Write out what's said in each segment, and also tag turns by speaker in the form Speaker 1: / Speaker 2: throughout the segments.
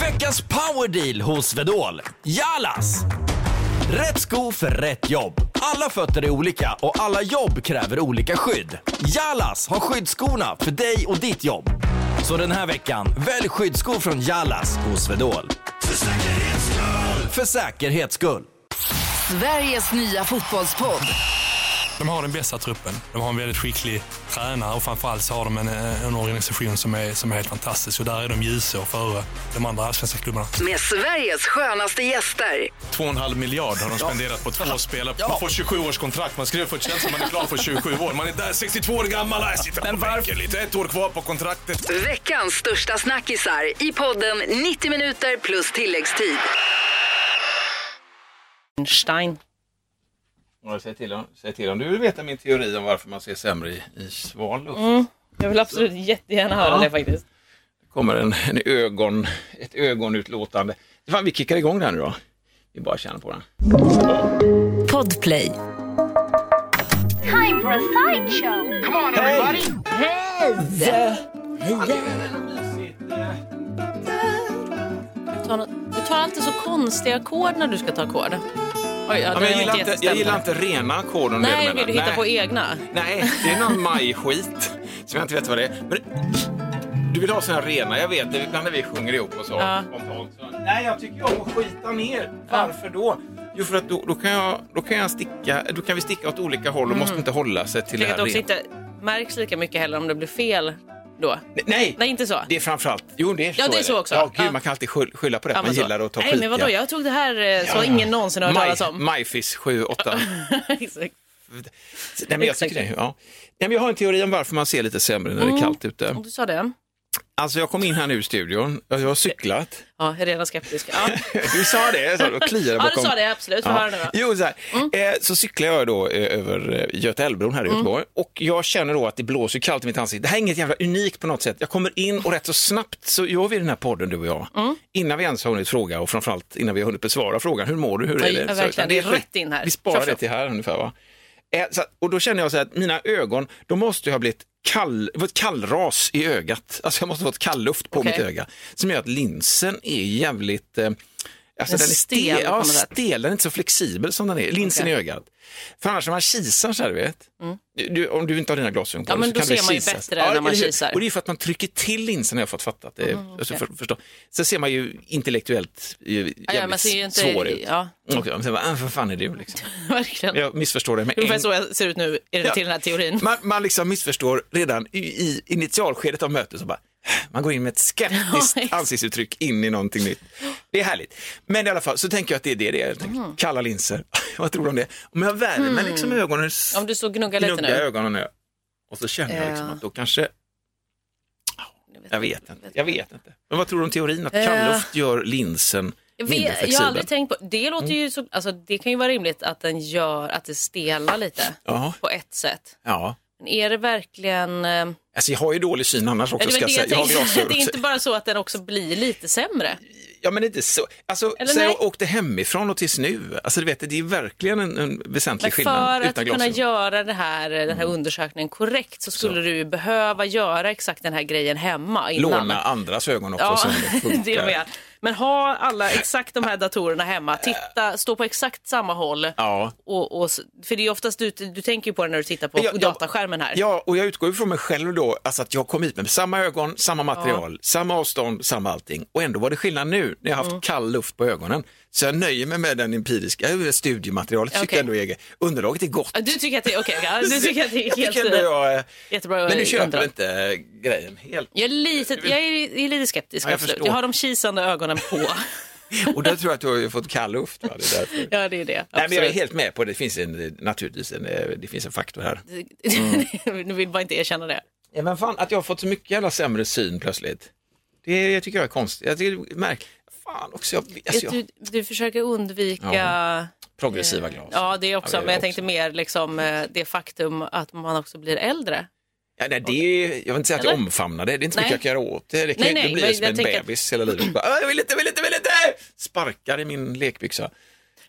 Speaker 1: Veckans powerdeal hos Vedol. Jalas! Rätt sko för rätt jobb. Alla fötter är olika och alla jobb kräver olika skydd. Jalas har skyddsskorna för dig och ditt jobb. Så den här veckan, välj skyddsskor från Jalas hos Vedol. För säkerhets skull! För säkerhets skull.
Speaker 2: Sveriges nya fotbollspodd.
Speaker 3: De har den bästa truppen. De har en väldigt skicklig tränare och framförallt så har de en, eh, en organisation som är, som är helt fantastisk. Och där är de ljusår före de andra allsvenska klubbarna.
Speaker 2: Med Sveriges skönaste gäster.
Speaker 4: 2,5 miljard har de spenderat på två spelare. Man får 27 års kontrakt. Man skriver för Chelsea, man är klar för 27 år. Man är där 62 år gammal. Jag sitter på bänken lite. Ett år kvar på kontraktet.
Speaker 2: Veckans största snackisar i podden 90 minuter plus tilläggstid.
Speaker 5: Einstein.
Speaker 6: Ja, Säg till, om, säg till om du vill veta min teori om varför man ser sämre i, i sval luft.
Speaker 5: Jag vill absolut jättegärna höra det faktiskt.
Speaker 6: kommer en, en ögon, ett ögonutlåtande. Fan, vi kickar igång den nu då. Vi bara känner på den.
Speaker 2: Podplay.
Speaker 7: time for a sideshow.
Speaker 5: Ta nå- Du tar alltid så konstiga ackord när du ska ta ackord. Oj, ja,
Speaker 6: Ja,
Speaker 5: det
Speaker 6: men
Speaker 5: är
Speaker 6: jag, gillar
Speaker 5: inte
Speaker 6: inte, jag gillar
Speaker 5: jättestämda.
Speaker 6: inte rena ackord om det
Speaker 5: Nej,
Speaker 6: menar.
Speaker 5: vill du hitta
Speaker 6: Nej.
Speaker 5: på egna?
Speaker 6: Nej, det är någon majskit som jag inte vet vad det är. Men, du vill ha såna här rena, jag vet det, ibland när vi sjunger ihop och så.
Speaker 5: Ja.
Speaker 6: spontant, så. Nej, jag tycker ju om att skita ner. Varför då? Jo, för att då, då, kan jag, då, kan jag sticka, då kan vi sticka åt olika håll och måste inte hålla sig till det
Speaker 5: Vilket
Speaker 6: här
Speaker 5: också
Speaker 6: rena.
Speaker 5: Mm. inte märks lika mycket heller om det blir fel då.
Speaker 6: Nej,
Speaker 5: Nej, inte så.
Speaker 6: det är framförallt. Jo, det är så.
Speaker 5: det är så också.
Speaker 6: Ja, gud,
Speaker 5: Ja.
Speaker 6: man kan alltid skyll- skylla på det.
Speaker 5: Ja,
Speaker 6: att man
Speaker 5: men så.
Speaker 6: gillar att ta
Speaker 5: Nej,
Speaker 6: skit.
Speaker 5: men vadå?
Speaker 6: ja.
Speaker 5: Jag tog det här eh, så ingen någonsin har hört
Speaker 6: Maj-
Speaker 5: talas om.
Speaker 6: Majfis 78.
Speaker 5: Exakt.
Speaker 6: Nej, men jag
Speaker 5: Exakt.
Speaker 6: tycker det. Ja. Nej, men jag har en teori om varför man ser lite sämre när
Speaker 5: Mm.
Speaker 6: det är kallt ute.
Speaker 5: Om Du sa det?
Speaker 6: Alltså, jag kom in här nu i studion. Jag har cyklat.
Speaker 5: Ja, jag är redan skeptisk. Ja,
Speaker 6: Du sa det, sa du, och kliade
Speaker 5: ja
Speaker 6: bakom.
Speaker 5: du sa det absolut. Få höra nu då. Mm.
Speaker 6: Jo, så, här. Eh, så cyklar jag då eh, över eh, Göta älvbron här i Göteborg och jag känner då att det blåser kallt i mitt ansikte. Det här är inget jävla unikt på något sätt. Jag kommer in och rätt så snabbt så gör vi den här podden du och jag.
Speaker 5: Mm.
Speaker 6: Innan vi ens har hunnit fråga och framförallt innan vi har hunnit besvara frågan. Hur mår du? Hur
Speaker 5: Ja,
Speaker 6: är det?
Speaker 5: ja,
Speaker 6: Så,
Speaker 5: verkligen.
Speaker 6: utan
Speaker 5: Det är rätt in här.
Speaker 6: Vi sparar
Speaker 5: Tjoff,
Speaker 6: det
Speaker 5: tjoff.
Speaker 6: till här ungefär va? Eh, så, att- och då känner jag så här att mina ögon, de måste ju ha blivit kall, det var ett kallras i ögat. Alltså jag måste ha fått kallluft på
Speaker 5: Okej.
Speaker 6: mitt öga. Som gör att linsen är jävligt eh, Alltså
Speaker 5: Den
Speaker 6: den är
Speaker 5: stel
Speaker 6: stel,
Speaker 5: på
Speaker 6: ja,
Speaker 5: något sätt.
Speaker 6: stel, den är inte så flexibel som den är, linsen
Speaker 5: Okej. Mm.
Speaker 6: i ögat. För annars när man kisar så här, du vet, du- du, om du inte har dina glasögon på
Speaker 5: Ja,
Speaker 6: dig
Speaker 5: men
Speaker 6: så
Speaker 5: då
Speaker 6: kan
Speaker 5: ser
Speaker 6: du
Speaker 5: man ju
Speaker 6: kisas.
Speaker 5: bättre när
Speaker 6: eller
Speaker 5: man
Speaker 6: hur?
Speaker 5: kisar. Mm,
Speaker 6: Och det är för att man trycker till linsen har jag fått fattat det. alltså, för, förstå. Sen ser man ju intellektuellt eh, jävligt
Speaker 5: Ja, ja, man ser ju inte...
Speaker 6: svår ut.
Speaker 5: Ja,
Speaker 6: Och jag bara, "Ah, vad fan är du liksom?
Speaker 5: verkligen.
Speaker 6: Jag missförstår det med
Speaker 5: Ungefär
Speaker 6: en
Speaker 5: så jag ser ut nu i- till den här teorin.
Speaker 6: man, man liksom missförstår redan i, i initialskedet av mötet. Så bara, man går in med ett skeptiskt
Speaker 5: Ja, exakt.
Speaker 6: ansiktsuttryck in i någonting nytt. Det är härligt. Men i alla fall så tänker jag att det är det det är. helt enkelt.
Speaker 5: Mm.
Speaker 6: Kalla linser. Vad tror du om det? Om jag värmer liksom ögonen,
Speaker 5: Om du så gnuggar lite
Speaker 6: gnuggar
Speaker 5: nu.
Speaker 6: ögonen nu. Och så känner jag liksom
Speaker 5: Ja.
Speaker 6: att då kanske, jag vet inte. Jag vet inte. Men vad tror du om teorin att kalluft gör
Speaker 5: Eh.
Speaker 6: linsen
Speaker 5: Jag, vet,
Speaker 6: mindre
Speaker 5: jag har
Speaker 6: flexibel?
Speaker 5: aldrig tänkt på, det låter ju så, alltså det kan ju vara rimligt att den gör att det stelar lite
Speaker 6: Ja,
Speaker 5: på ett sätt.
Speaker 6: ja.
Speaker 5: Men är det verkligen... eh,
Speaker 6: Alltså jag har ju dålig syn annars också
Speaker 5: det,
Speaker 6: ska
Speaker 5: var
Speaker 6: jag
Speaker 5: det,
Speaker 6: säga.
Speaker 5: jag
Speaker 6: Jag har
Speaker 5: tänkte,
Speaker 6: glasögon
Speaker 5: det är
Speaker 6: också.
Speaker 5: inte bara så att den också blir lite sämre.
Speaker 6: Ja men inte så. Alltså,
Speaker 5: Eller
Speaker 6: sen
Speaker 5: nej.
Speaker 6: jag åkte hemifrån och tills nu. Alltså du vet, det är verkligen en, en väsentlig
Speaker 5: Men
Speaker 6: skillnad
Speaker 5: för att
Speaker 6: utan
Speaker 5: kunna
Speaker 6: glasögon. Mm.
Speaker 5: göra det här, den här undersökningen korrekt så skulle du ju behöva göra exakt den här grejen hemma innan.
Speaker 6: Låna andras ögon också.
Speaker 5: Ja,
Speaker 6: som det funkar. Eh.
Speaker 5: det med. Men ha alla exakt de här datorerna hemma, titta, stå på exakt samma håll.
Speaker 6: Ja.
Speaker 5: Och, och, s- för det är oftast du, du tänker ju på det när du tittar på
Speaker 6: Jag- jag-
Speaker 5: dataskärmen här.
Speaker 6: Ja, och jag utgår ju från mig själv då, alltså att jag kom hit med samma ögon, samma material, samma avstånd, samma allting. Och ändå var det skillnad nu när jag haft
Speaker 5: Mm.
Speaker 6: kall luft på ögonen. Så jag nöjer mig med den empiriska eh, studiematerialet, tycker
Speaker 5: Okej.
Speaker 6: jag ändå är eget. Underlaget är gott.
Speaker 5: Ja, Du tycker att det, okay, ja, du tycker att det är
Speaker 6: jag
Speaker 5: helt,
Speaker 6: tycker ändå jag, eh,
Speaker 5: jättebra
Speaker 6: men du köper
Speaker 5: underlag.
Speaker 6: inte eh, grejen helt.
Speaker 5: Jag är lite, jag är, är lite skeptisk.
Speaker 6: Ja, jag
Speaker 5: absolut.
Speaker 6: förstår.
Speaker 5: jag har de kisande ögonen på.
Speaker 6: Och då tror jag att du har ju fått kall luft. Va? Det är därför.
Speaker 5: ja, det är det.
Speaker 6: Nej, men jag är
Speaker 5: absolut.
Speaker 6: helt med på det. Det finns en, naturligtvis en, eh, det finns en faktor här.
Speaker 5: nu vill bara inte erkänna det.
Speaker 6: Ja, men fan, att jag har fått så mycket jävla sämre syn plötsligt. Det jag tycker jag är konstigt. Jag tycker det är märkligt. Fan också, jag, alltså, jag,
Speaker 5: Du, du försöker undvika...
Speaker 6: progressiva glas.
Speaker 5: Ja, det är också,
Speaker 6: Ja, det är
Speaker 5: men jag
Speaker 6: också.
Speaker 5: tänkte mer liksom, eh, det faktum att man också blir äldre.
Speaker 6: Ja, nej, det är, jag vill inte säga att jag
Speaker 5: Eller?
Speaker 6: omfamnar det. Det är inte så
Speaker 5: Nej.
Speaker 6: mycket jag kan göra åt det. Det, kan,
Speaker 5: Nej,
Speaker 6: nej,
Speaker 5: nej,
Speaker 6: det blir
Speaker 5: men
Speaker 6: som
Speaker 5: jag
Speaker 6: en
Speaker 5: tänker att-
Speaker 6: bebis hela livet. Bara, "Ah, jag vill inte, vill inte, vill inte! Sparkar i min lekbyxa.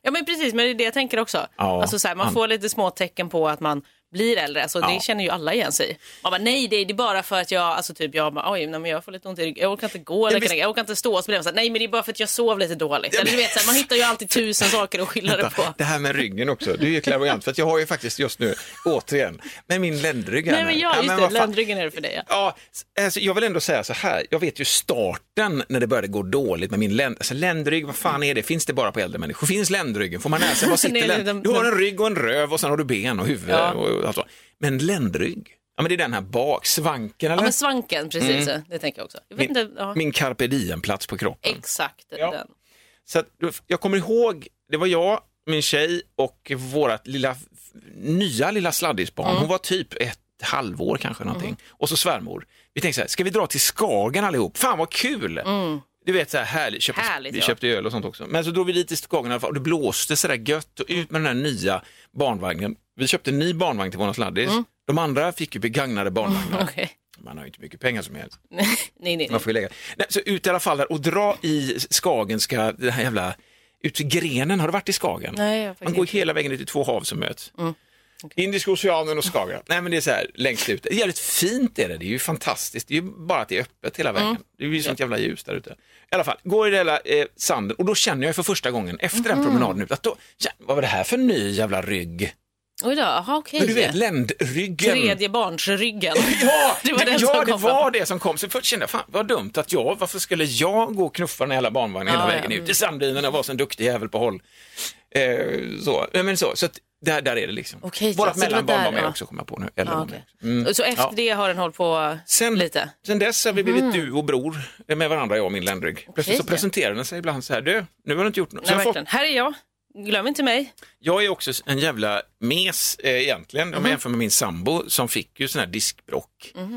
Speaker 5: Ja men precis, men det är det jag tänker också.
Speaker 6: Ja.
Speaker 5: alltså så här, man
Speaker 6: An-
Speaker 5: får lite små tecken på att man blir äldre. Alltså,
Speaker 6: Ja.
Speaker 5: Det känner ju alla igen sig i. Man bara, nej, det är det är bara för att jag, alltså typ jag bara, oj, nej, men jag får lite ont i ryggen, jag orkar inte gå, eller
Speaker 6: visst.
Speaker 5: jag orkar inte stå. Så blir man så här, nej, men det är bara för att jag sov lite dåligt. Eller du vet, så här, man hittar ju alltid tusen saker att skylla det på.
Speaker 6: Det här med ryggen också, du är ju klärvoajant för att jag har ju faktiskt just nu, återigen, med min ländrygg här
Speaker 5: Nej,
Speaker 6: nu.
Speaker 5: men ja, just
Speaker 6: men
Speaker 5: det,
Speaker 6: vad fan.
Speaker 5: ländryggen är det för dig. Ja.
Speaker 6: Ja, alltså, jag vill ändå säga så här, jag vet ju starten när det började gå dåligt med min länd, alltså, ländrygg, vad fan är det, finns det bara på äldre människor? Finns ländryggen? Får man lära sig, vad sitter
Speaker 5: Mm. Nej,
Speaker 6: länd...
Speaker 5: de-
Speaker 6: Du har
Speaker 5: de-
Speaker 6: en rygg och en röv och sen har du ben och huvud
Speaker 5: Ja.
Speaker 6: och allt så. Men ländrygg, ja men det är den här bak, svanken eller?
Speaker 5: Ja, men svanken, precis. Det tänker jag också. Jag vet inte,
Speaker 6: Mm. min,
Speaker 5: ja.
Speaker 6: min carpe diem-plats på kroppen.
Speaker 5: Exakt
Speaker 6: Ja.
Speaker 5: den.
Speaker 6: Så att, jag kommer ihåg, det var jag, min tjej och vårt lilla, nya lilla sladdisbarn.
Speaker 5: Mm.
Speaker 6: Hon var typ ett halvår kanske någonting. Och så svärmor. Vi tänkte så här, ska vi dra till Skagen allihop? Fan vad kul! Du vet så här härligt, köpte,
Speaker 5: Mm. Härligt,
Speaker 6: vi
Speaker 5: ja.
Speaker 6: köpte öl och sånt också. Men så drog vi dit till Skagen i alla fall och det blåste så där gött och ut med den här nya barnvagnen. Vi köpte en ny barnvagn till våran sladdis.
Speaker 5: Mm.
Speaker 6: De andra fick ju begagnade barnvagnar.
Speaker 5: Okej.
Speaker 6: Man har ju inte mycket pengar som helst.
Speaker 5: Nej, nej,
Speaker 6: Man
Speaker 5: nej.
Speaker 6: får ju lägga. Nej, så ut i alla fall där och dra i Skagenska, den här jävla, ut till grenen, har du varit i Skagen?
Speaker 5: Nej, jag har
Speaker 6: Man
Speaker 5: faktiskt
Speaker 6: går
Speaker 5: inte. Mm,
Speaker 6: hela vägen ut till två hav som möts. Indiska oceanen och Skagen. Nej men det är så här längst ut. Det är jävligt fint är det, det är ju fantastiskt. Det är ju bara att det är öppet hela
Speaker 5: Mm.
Speaker 6: vägen. Det är ju sånt jävla ljus där ute. I alla fall, går i den hela eh, sanden och då känner jag för första gången efter
Speaker 5: Mm.
Speaker 6: den promenaden ut att då, ja, vad var det här för ny jävla rygg?
Speaker 5: Oj då, aha, okej.
Speaker 6: Men du vet, ländryggen.
Speaker 5: Tredje barnsryggen.
Speaker 6: Ja,
Speaker 5: det var den
Speaker 6: ja,
Speaker 5: som
Speaker 6: det
Speaker 5: kom
Speaker 6: var det som kom. Så först kände jag, fan vad dumt att jag, varför skulle jag gå och knuffa den här hela barnvagnen
Speaker 5: Ja,
Speaker 6: hela
Speaker 5: ja,
Speaker 6: vägen ut i sanddynen och vara så en duktig jävel på håll. Eh, så, Nej, men så, så att där, där är det liksom.
Speaker 5: Okej,
Speaker 6: Vårat
Speaker 5: ja, så det var
Speaker 6: mellanbarn
Speaker 5: där,
Speaker 6: var med
Speaker 5: ja.
Speaker 6: också kommer jag på nu. Eller
Speaker 5: Ja,
Speaker 6: var
Speaker 5: okej.
Speaker 6: med. Mm.
Speaker 5: Så efter
Speaker 6: Ja.
Speaker 5: det har den hållit på
Speaker 6: Sen,
Speaker 5: lite? Mm.
Speaker 6: sen dess har vi blivit du och bror med varandra, jag och min ländrygg. Plötsligt så
Speaker 5: Okej.
Speaker 6: presenterar den sig ibland så här, du, nu har du inte gjort något.
Speaker 5: Nej,
Speaker 6: Så jag har fått-
Speaker 5: verkligen. Här är jag. Glöm inte mig.
Speaker 6: jag är också en jävla mes eh, egentligen,
Speaker 5: Mhm.
Speaker 6: om jag jämför med min sambo som fick ju sån här diskbråck eh,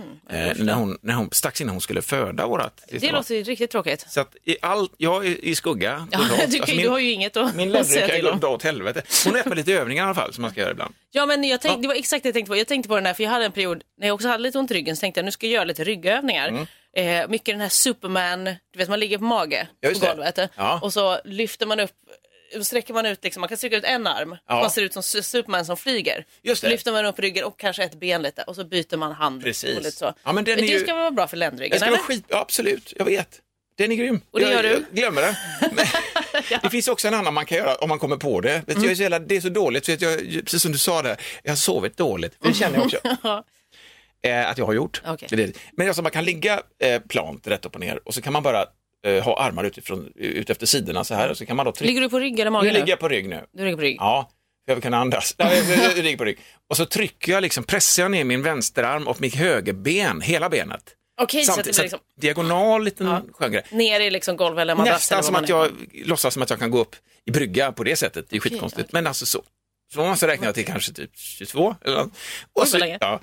Speaker 6: när hon, när hon, strax innan hon skulle föda vårat
Speaker 5: Det,
Speaker 6: sista barn.
Speaker 5: låter ju riktigt tråkigt.
Speaker 6: Så att i all, jag är i skugga.
Speaker 5: Ja,
Speaker 6: totalt.
Speaker 5: du, kan,
Speaker 6: Alltså
Speaker 5: ju-
Speaker 6: min,
Speaker 5: du har ju inget att säga
Speaker 6: min ländrygg kan
Speaker 5: till
Speaker 6: ju
Speaker 5: om.
Speaker 6: dra åt helvete. Hon är på lite övningar i alla fall som man ska göra ibland.
Speaker 5: Ja, men jag tänkte, det var exakt det jag tänkte på. Jag tänkte på den här, för jag hade en period när jag också hade lite ont i ryggen, så tänkte jag nu ska jag göra lite ryggövningar.
Speaker 6: Mm.
Speaker 5: Eh, mycket den här Superman, du vet man ligger på mage
Speaker 6: Ja, just
Speaker 5: på
Speaker 6: det.
Speaker 5: golvet eh,
Speaker 6: Ja.
Speaker 5: och så lyfter man upp och sträcker man ut, liksom, man kan sträcka ut en arm,
Speaker 6: Ja.
Speaker 5: man ser ut som Su- Superman som flyger.
Speaker 6: Just det.
Speaker 5: Lyfter man upp ryggen och kanske ett ben lite och så byter man hand.
Speaker 6: Precis.
Speaker 5: Och lite så.
Speaker 6: Ja, men den är
Speaker 5: det
Speaker 6: ju-
Speaker 5: ska vara bra för
Speaker 6: Det
Speaker 5: ländryggen,
Speaker 6: ska
Speaker 5: eller?
Speaker 6: vara skit, ja, absolut, jag vet. Den är grym.
Speaker 5: Och det
Speaker 6: jag,
Speaker 5: gör du?
Speaker 6: jag glömmer den. Men, Det finns också en annan man kan göra om man kommer på det. Vet
Speaker 5: Mm.
Speaker 6: du, jag är så jävla, det är så dåligt, för att jag, precis som du sa där, jag har sovit dåligt. Det känner jag också. eh, att jag har gjort.
Speaker 5: Okej.
Speaker 6: Det är det. Men alltså, man kan ligga eh, plant rätt upp och ner och så kan man bara eh, ha armar utifrån, ut efter sidorna så här och så kan man då trycka.
Speaker 5: Ligger du på rygg eller mage
Speaker 6: Nu
Speaker 5: nu?
Speaker 6: ligger jag på rygg nu.
Speaker 5: Du ligger på rygg.
Speaker 6: Ja, för jag vill kunna andas. Nej, jag- jag- jag ligger på rygg. Och så trycker jag liksom, pressar jag ner min vänsterarm och mitt högerben, hela benet.
Speaker 5: Okej, så att det
Speaker 6: Samtidigt,
Speaker 5: blir liksom
Speaker 6: så att diagonal liten skön grej.
Speaker 5: ner i liksom golv eller madrass. eller
Speaker 6: Nästan
Speaker 5: vad
Speaker 6: som
Speaker 5: man
Speaker 6: att
Speaker 5: är.
Speaker 6: jag låtsas som att jag kan gå upp i brygga på det sättet. Det är skitkonstigt. Men alltså så. Så måste jag räkna till kanske typ 22 eller något.
Speaker 5: Oj,
Speaker 6: och,
Speaker 5: så
Speaker 6: så,
Speaker 5: länge. Ah,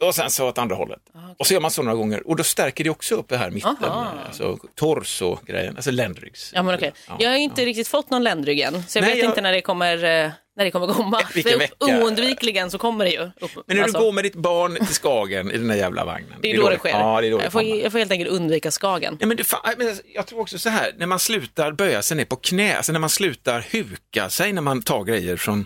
Speaker 6: ja, och sen så åt andra hållet. Och så gör man så några gånger och då stärker det också upp det här mitten.
Speaker 5: Aha.
Speaker 6: Alltså torso-grejen, alltså ländryggs.
Speaker 5: Ja, men okej.
Speaker 6: Ja.
Speaker 5: Jag har ju inte riktigt fått någon ländrygg än, så jag
Speaker 6: Nej,
Speaker 5: vet
Speaker 6: jag-
Speaker 5: inte när det kommer, eh, när det kommer komma.
Speaker 6: Vilken
Speaker 5: För
Speaker 6: vecka.
Speaker 5: Oundvikligen så kommer det ju. Upp,
Speaker 6: Men när
Speaker 5: alltså,
Speaker 6: du går med ditt barn till Skagen i den där jävla vagnen.
Speaker 5: det är då det sker.
Speaker 6: Ja, det är då det
Speaker 5: jag, får,
Speaker 6: kommer.
Speaker 5: jag får helt enkelt undvika skagen.
Speaker 6: Ja, men det, fan, men alltså, jag tror också så här, när man slutar böja sig ner på knä, alltså när man slutar huka sig när man tar grejer från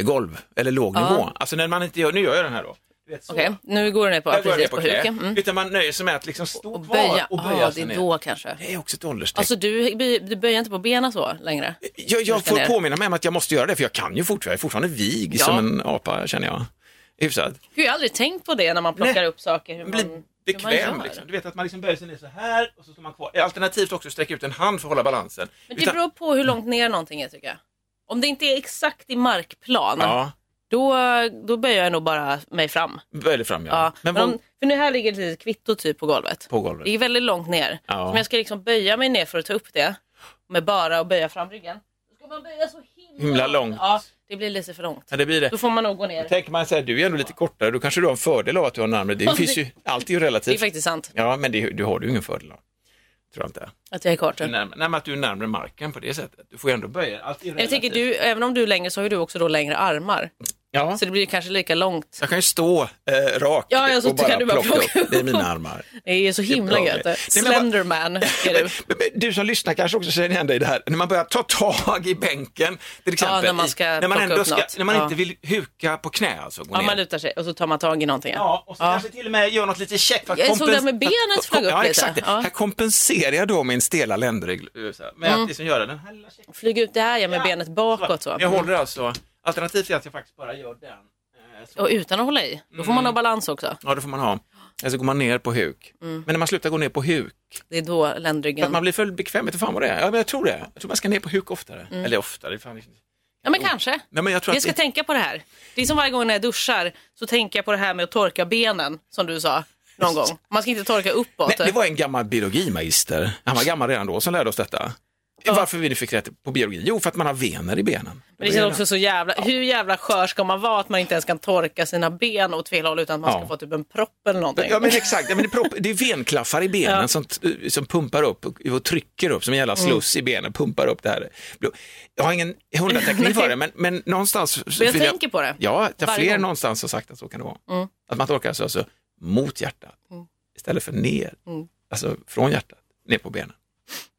Speaker 6: golv eller låg nivå. Alltså när man inte gör, nu gör jag den här då. Du vet, så.
Speaker 5: Okej, nu går den ner på,
Speaker 6: Där går jag ner
Speaker 5: precis,
Speaker 6: på
Speaker 5: på
Speaker 6: knä.
Speaker 5: huken. Mm.
Speaker 6: Utan man nöjer sig med att liksom stå
Speaker 5: Och
Speaker 6: kvar
Speaker 5: böja.
Speaker 6: och böja
Speaker 5: ah, det
Speaker 6: sig
Speaker 5: är
Speaker 6: ner.
Speaker 5: då kanske.
Speaker 6: Det är också ett ålderstecken.
Speaker 5: Alltså du, by- du böjer inte på benen så längre?
Speaker 6: jag jag
Speaker 5: ska
Speaker 6: får
Speaker 5: ner.
Speaker 6: påminna mig om att jag måste göra det, för jag kan ju fortfarande, jag är fortfarande vig
Speaker 5: Ja.
Speaker 6: som en apa känner jag. Hyfsat.
Speaker 5: Gud, jag har aldrig tänkt på det när man plockar
Speaker 6: Nej.
Speaker 5: upp saker. Hur
Speaker 6: Man
Speaker 5: man,
Speaker 6: blir
Speaker 5: hur man
Speaker 6: bekväm.
Speaker 5: gör.
Speaker 6: Liksom. Du vet att man liksom böjer sig ner så här och så står man kvar. Alternativt också sträcka ut en hand för att hålla balansen.
Speaker 5: Men det beror på hur långt ner någonting är tycker jag. Om det inte är exakt i markplan,
Speaker 6: Ja,
Speaker 5: då, då böjer jag nog bara mig fram.
Speaker 6: böjde fram ja.
Speaker 5: Ja.
Speaker 6: Men
Speaker 5: Men
Speaker 6: vad-
Speaker 5: om, för nu här ligger ett litet kvitto typ på golvet.
Speaker 6: På golvet.
Speaker 5: Det är väldigt långt ner.
Speaker 6: Ja.
Speaker 5: Så om jag ska liksom böja mig ner för att ta upp det med bara att böja fram ryggen. Då ska man böja så himla,
Speaker 6: Himla långt.
Speaker 5: Ja, det blir lite för långt.
Speaker 6: Ja, det blir det.
Speaker 5: Då får man nog gå ner.
Speaker 6: Tänker man så här, du är ändå lite kortare, då kanske du har en fördel av att du har en armre. Det
Speaker 5: Ja,
Speaker 6: finns
Speaker 5: det-
Speaker 6: ju, allt är ju
Speaker 5: Det är
Speaker 6: relativt.
Speaker 5: faktiskt sant
Speaker 6: Ja, men det, du har du ingen fördel av. Tror jag inte.
Speaker 5: att jag är kort.
Speaker 6: Du är närmare- Nej, men att du är närmare marken på det sättet. Du får ju ändå böja. Allt är ju
Speaker 5: Jag
Speaker 6: relativt. Mm.
Speaker 5: tänker du, även om du är längre så har ju du också då längre armar.
Speaker 6: Ja.
Speaker 5: Så det blir kanske lika långt.
Speaker 6: Jag kan ju stå eh, rakt
Speaker 5: Ja, ja, så
Speaker 6: och bara
Speaker 5: kan du bara
Speaker 6: plocka
Speaker 5: plocka
Speaker 6: upp. Det är mina
Speaker 5: upp.
Speaker 6: armar.
Speaker 5: Det är så himla
Speaker 6: bra
Speaker 5: gött.
Speaker 6: grej. Nej, men vad-
Speaker 5: Slenderman är du.
Speaker 6: Men- men Du som lyssnar kanske också känner igen dig i det här, när man börjar ta tag i bänken, till exempel.
Speaker 5: när man
Speaker 6: i-
Speaker 5: ska
Speaker 6: när man,
Speaker 5: plocka upp något.
Speaker 6: när man
Speaker 5: Ja.
Speaker 6: inte vill huka på knä alltså. Gå
Speaker 5: Ja,
Speaker 6: ner.
Speaker 5: man lutar sig och så tar man tag i någonting.
Speaker 6: Ja, och så kanske till och med gör något lite käckt. För att
Speaker 5: Jag såg
Speaker 6: kompens-
Speaker 5: det med benet
Speaker 6: att-
Speaker 5: flög upp
Speaker 6: ja,
Speaker 5: lite.
Speaker 6: Exakt.
Speaker 5: Ja.
Speaker 6: Här kompenserar jag då min stela ländrygg eh, så här, med
Speaker 5: Mm.
Speaker 6: att liksom göra den här lilla käcka.
Speaker 5: Flyg ut det här ja, med benet bakåt så.
Speaker 6: Jag håller alltså, alternativt är att jag faktiskt bara gör den. eh, så.
Speaker 5: Och utan att hålla i. Då får
Speaker 6: Mm.
Speaker 5: man ha balans också.
Speaker 6: Ja, det får man ha. Eller så går man ner på huk.
Speaker 5: Mm.
Speaker 6: Men när man slutar gå ner på huk,
Speaker 5: Det är då
Speaker 6: för att
Speaker 5: ländryggen...
Speaker 6: man blir för bekväm, vet du fan vad det är. Ja, men jag tror det. Jag tror man ska ner på huk oftare. Eller oftare, fan. liksom.
Speaker 5: Ja, men kanske.
Speaker 6: Nej, men jag tror
Speaker 5: Mm. Jag
Speaker 6: att
Speaker 5: ska
Speaker 6: det-
Speaker 5: tänka på det här. Det är som varje gång när jag duschar så tänker jag på det här med att torka benen som du sa någon gång. Man ska inte torka uppåt.
Speaker 6: Nej, det var en gammal biologimagister, han var gammal redan då, som lärde oss detta. Varför vi nu fick rätt på biologi? Jo, för att man har vener i benen.
Speaker 5: Men det känns också så jävla... Hur jävla skör ska man vara att man inte ens kan torka sina ben åt fel håll utan att man ska
Speaker 6: Ja.
Speaker 5: få typ en propp eller någonting.
Speaker 6: Ja men exakt, ja, men det, är propp, det är venklaffar i benen
Speaker 5: Ja. Mm.
Speaker 6: som, t- eh, som pumpar upp och, och trycker upp som en jävla sluss i benen, pumpar upp det här. blod. Jag har ingen hundrateknik för det, men, men någonstans... så
Speaker 5: Men jag
Speaker 6: vill
Speaker 5: tänker på det.
Speaker 6: Ja, det är
Speaker 5: Varje
Speaker 6: fler
Speaker 5: gång. Mm.
Speaker 6: någonstans har sagt att så kan det vara. Att man torkar sig alltså mot hjärtat istället för ner,
Speaker 5: Mm.
Speaker 6: alltså från hjärtat, ner på benen.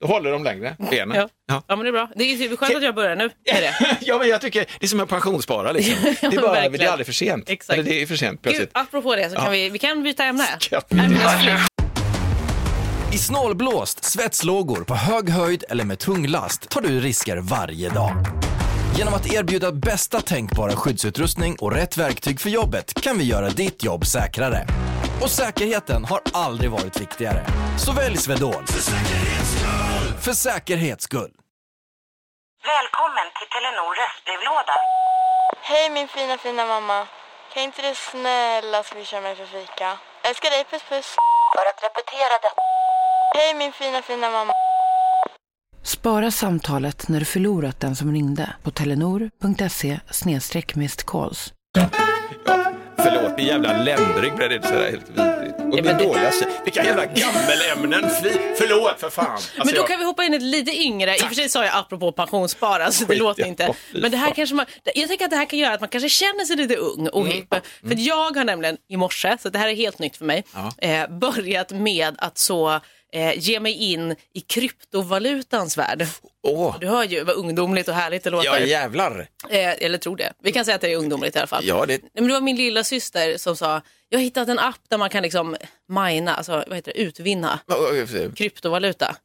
Speaker 6: Då håller de längre, benen.
Speaker 5: Ja.
Speaker 6: Ja.
Speaker 5: Ja men det är bra. Det är ju skönt att jag börjar nu med det.
Speaker 6: Ja, men jag tycker det är som en pensionsspara liksom. Det är,
Speaker 5: men
Speaker 6: bara, det
Speaker 5: verkligen.
Speaker 6: är aldrig för sent.
Speaker 5: Exakt.
Speaker 6: Eller det är för sent
Speaker 5: Gud, alltså-
Speaker 6: plötsligt.
Speaker 5: apropå det så kan vi, vi kan byta ämne.
Speaker 1: I snålblåst, svetslågor, på hög höjd eller med tung last tar du risker varje dag. Genom att erbjuda bästa tänkbara skyddsutrustning och rätt verktyg för jobbet kan vi göra ditt jobb säkrare. Och säkerheten har aldrig varit viktigare. Så välj Swedol. För säkerhets skull. För säkerhets skull.
Speaker 8: Välkommen till Telenor röstbrevlåda.
Speaker 9: Hej min fina fina mamma. Kan inte du snälla swisha mig för fika? Älskar dig, puss puss.
Speaker 8: För att repetera detta
Speaker 9: Hej min fina fina mamma.
Speaker 10: Spara samtalet när du förlorat den som ringde på telenor.se calls.
Speaker 6: Förlåt, min jävla ländrygg bredde ut sig helt vidrigt. Och min
Speaker 5: men det-
Speaker 6: dåligaste, vilka jävla gammelämnen, fly, förlåt för fan. Alltså,
Speaker 5: Men då
Speaker 6: jag-
Speaker 5: kan vi hoppa in ett lite yngre. I och för sig sa jag apropå pensionsspara, så det
Speaker 6: Skit,
Speaker 5: låter
Speaker 6: ja.
Speaker 5: inte.
Speaker 6: Åh, fy
Speaker 5: Men det här
Speaker 6: fan. Mm.
Speaker 5: kanske man, jag tänker att det här kan göra att man kanske känner sig lite ung och hipp. För att jag har nämligen i morse, så det här är helt nytt för mig, eh, börjat med att så eh, ge mig in i kryptovalutans värld.
Speaker 6: Åh,
Speaker 5: Du hör ju vad ungdomligt och härligt det låter.
Speaker 6: ja jävlar.
Speaker 5: Eh, eller tror det. Vi kan säga att det är ungdomligt i alla fall.
Speaker 6: Ja, det-
Speaker 5: Nej, Men det var min lilla syster som sa, jag har hittat en app där man kan liksom mina, alltså vad heter det, utvinna
Speaker 6: Okej.
Speaker 5: kryptovaluta.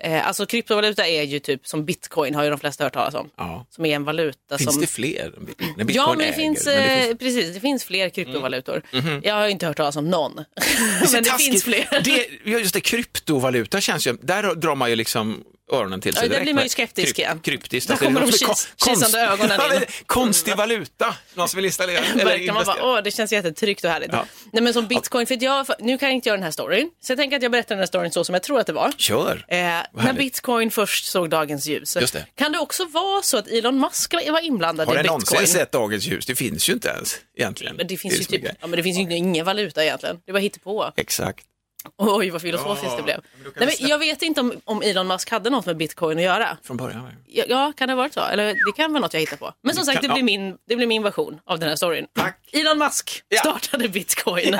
Speaker 5: Eh, alltså kryptovaluta är ju typ som bitcoin har ju de flesta hört talas om.
Speaker 6: Ja.
Speaker 5: Som är en valuta
Speaker 6: Finns
Speaker 5: som...
Speaker 6: det fler? än bitcoin? Nej, bitcoin
Speaker 5: ja, men det,
Speaker 6: äger,
Speaker 5: finns,
Speaker 6: men det Mm. Mhm.
Speaker 5: eh, Precis, det finns fler kryptovalutor. Jag har ju inte hört talas om någon. men det
Speaker 6: Taskigt.
Speaker 5: finns fler.
Speaker 6: Det, ja, just det, kryptovaluta känns ju, där drar man ju liksom öronen till sig
Speaker 5: Ja, där
Speaker 6: direkt.
Speaker 5: blir man ju
Speaker 6: Men
Speaker 5: skeptisk
Speaker 6: kryp-
Speaker 5: igen.
Speaker 6: Kryptiskt.
Speaker 5: Där
Speaker 6: alltså, det är
Speaker 5: kommer
Speaker 6: något
Speaker 5: de
Speaker 6: för kon-
Speaker 5: kis- kisande ögonen
Speaker 6: Ja,
Speaker 5: in.
Speaker 6: men Konstig valuta, någon som vill installera eller
Speaker 5: Verkar man bara,
Speaker 6: investera.
Speaker 5: åh det känns jättetryggt och härligt.
Speaker 6: Ja.
Speaker 5: Nej men som bitcoin, för att jag, för, nu kan jag inte göra den här storyn. Så jag tänker att jag berättar den här storyn så som jag tror att det var.
Speaker 6: Kör.
Speaker 5: Eh, när
Speaker 6: härligt.
Speaker 5: bitcoin först såg dagens ljus.
Speaker 6: Just det.
Speaker 5: Kan det också vara så att Elon Musk var var inblandad
Speaker 6: Har
Speaker 5: i
Speaker 6: den
Speaker 5: bitcoin?
Speaker 6: någonsin sett dagens ljus? Det finns ju inte ens egentligen.
Speaker 5: Men det finns ju
Speaker 6: som är
Speaker 5: typ,
Speaker 6: grejen.
Speaker 5: ja, men det finns ju ingen valuta egentligen. Det var hittepå.
Speaker 6: Exakt.
Speaker 5: Oj, vad filosofiskt det blev. Nej, men jag vet inte om, om Elon Musk hade något med bitcoin att göra.
Speaker 6: Från början.
Speaker 5: Ja, Ja, kan det ha varit så? Eller det kan vara något jag hittar på. Men som sagt,
Speaker 6: kan-
Speaker 5: det blir
Speaker 6: ja.
Speaker 5: min, det blir min version av den här storyn. Elon Musk startade bitcoin.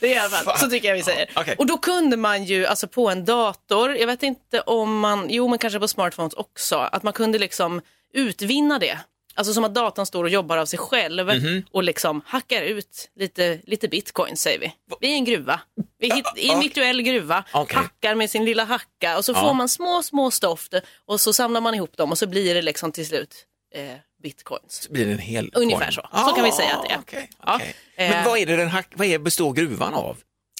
Speaker 5: det är i alla fall, så tycker jag vi säger.
Speaker 6: Ja, okej.
Speaker 5: Och då kunde man ju, alltså på en dator, jag vet inte om man, jo men kanske på smartphones också, att man kunde liksom utvinna det. Alltså som att datorn står och jobbar av sig själv
Speaker 6: Mhm.
Speaker 5: och liksom hackar ut lite, lite bitcoin säger vi. I en gruva. Vi hit, I en virtuell gruva.
Speaker 6: Okej.
Speaker 5: Hackar med sin lilla hacka och så får man små, små stoft och så samlar man ihop dem och så blir det liksom till slut eh, bitcoins.
Speaker 6: Blir det en hel
Speaker 5: Ungefär så. Så kan vi säga att det är.
Speaker 6: okej,
Speaker 5: Ja.
Speaker 6: okej. Men
Speaker 5: Eh.
Speaker 6: vad, är det den hack, vad är, består gruvan av?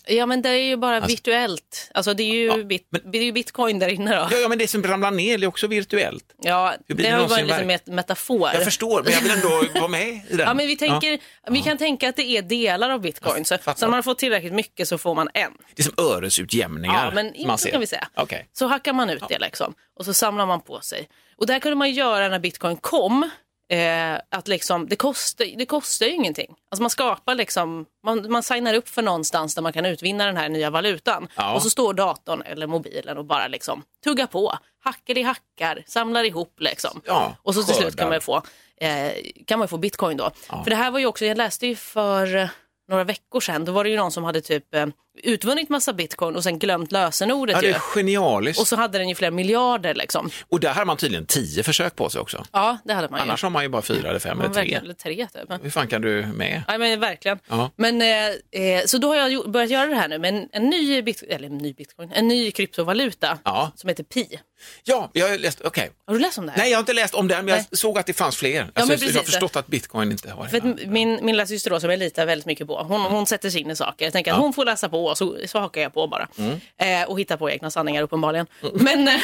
Speaker 5: Ja men det är ju bara virtuellt. Alltså det är ju, bit, det är ju bitcoin där inne då.
Speaker 6: Ja, ja, men det som ramlar ner det är också virtuellt.
Speaker 5: Ja,
Speaker 6: Hur blir
Speaker 5: det
Speaker 6: det
Speaker 5: har ju varit
Speaker 6: någonsin
Speaker 5: en liten met- metafor.
Speaker 6: Jag förstår, men jag vill ändå vara med i den.
Speaker 5: Ja, men vi, tänker, vi kan tänka att det är delar av bitcoin. Så,
Speaker 6: fattar.
Speaker 5: så när man får tillräckligt mycket så får man en.
Speaker 6: Det är som öresutjämningar.
Speaker 5: Ja, men
Speaker 6: man
Speaker 5: inte
Speaker 6: ser.
Speaker 5: kan vi säga.
Speaker 6: Okej.
Speaker 5: Så hackar man ut det liksom och så samlar man på sig. Och det här kunde man ju göra när bitcoin kom. Eh, att liksom, det, kostar, det kostar ju ingenting. Alltså man skapar liksom, man, man signar upp för någonstans där man kan utvinna den här nya valutan.
Speaker 6: Ja.
Speaker 5: Och så står datorn eller mobilen och bara liksom tuggar på. Hackar i hackar, samlar ihop liksom.
Speaker 6: Ja,
Speaker 5: och så till slut
Speaker 6: skördar.
Speaker 5: kan man ju få, eh, kan man ju få bitcoin då. För det här var ju också, jag läste ju för eh, några veckor sedan, då var det ju någon som hade typ eh, utvunnit massa bitcoin och sen glömt lösenordet
Speaker 6: Ja, det
Speaker 5: ju.
Speaker 6: är genialiskt.
Speaker 5: Och så hade den ju flera miljarder liksom.
Speaker 6: Och där hade man tydligen tio försök på sig också.
Speaker 5: Ja, det hade man ju.
Speaker 6: Annars har man ju bara fyra eller fem
Speaker 5: Man
Speaker 6: eller
Speaker 5: verkligen-
Speaker 6: tre.
Speaker 5: Eller tre typ.
Speaker 6: Hur fan kan du med?
Speaker 5: Ja, men verkligen.
Speaker 6: Ja.
Speaker 5: Men, eh, eh, så då har jag gjo- börjat göra det här nu med en, en, ny, bit, eller en ny bitcoin, en ny kryptovaluta
Speaker 6: Ja.
Speaker 5: som heter Pi.
Speaker 6: Ja, jag har läst, okej.
Speaker 5: Har du läst om det här?
Speaker 6: Nej, jag har inte läst om den, men jag
Speaker 5: Nej.
Speaker 6: såg att det fanns fler. Alltså,
Speaker 5: men
Speaker 6: jag har
Speaker 5: precis.
Speaker 6: förstått att bitcoin inte har
Speaker 5: För
Speaker 6: det.
Speaker 5: att min, min lilla syster då, som jag litar väldigt mycket på, hon, hon sätter sig in i saker. Jag tänker att hon får läsa på och så, så hakar jag på bara.
Speaker 6: Mm.
Speaker 5: Eh, och hittar på egna sanningar uppenbarligen. Men, eh,
Speaker 6: Men Mm.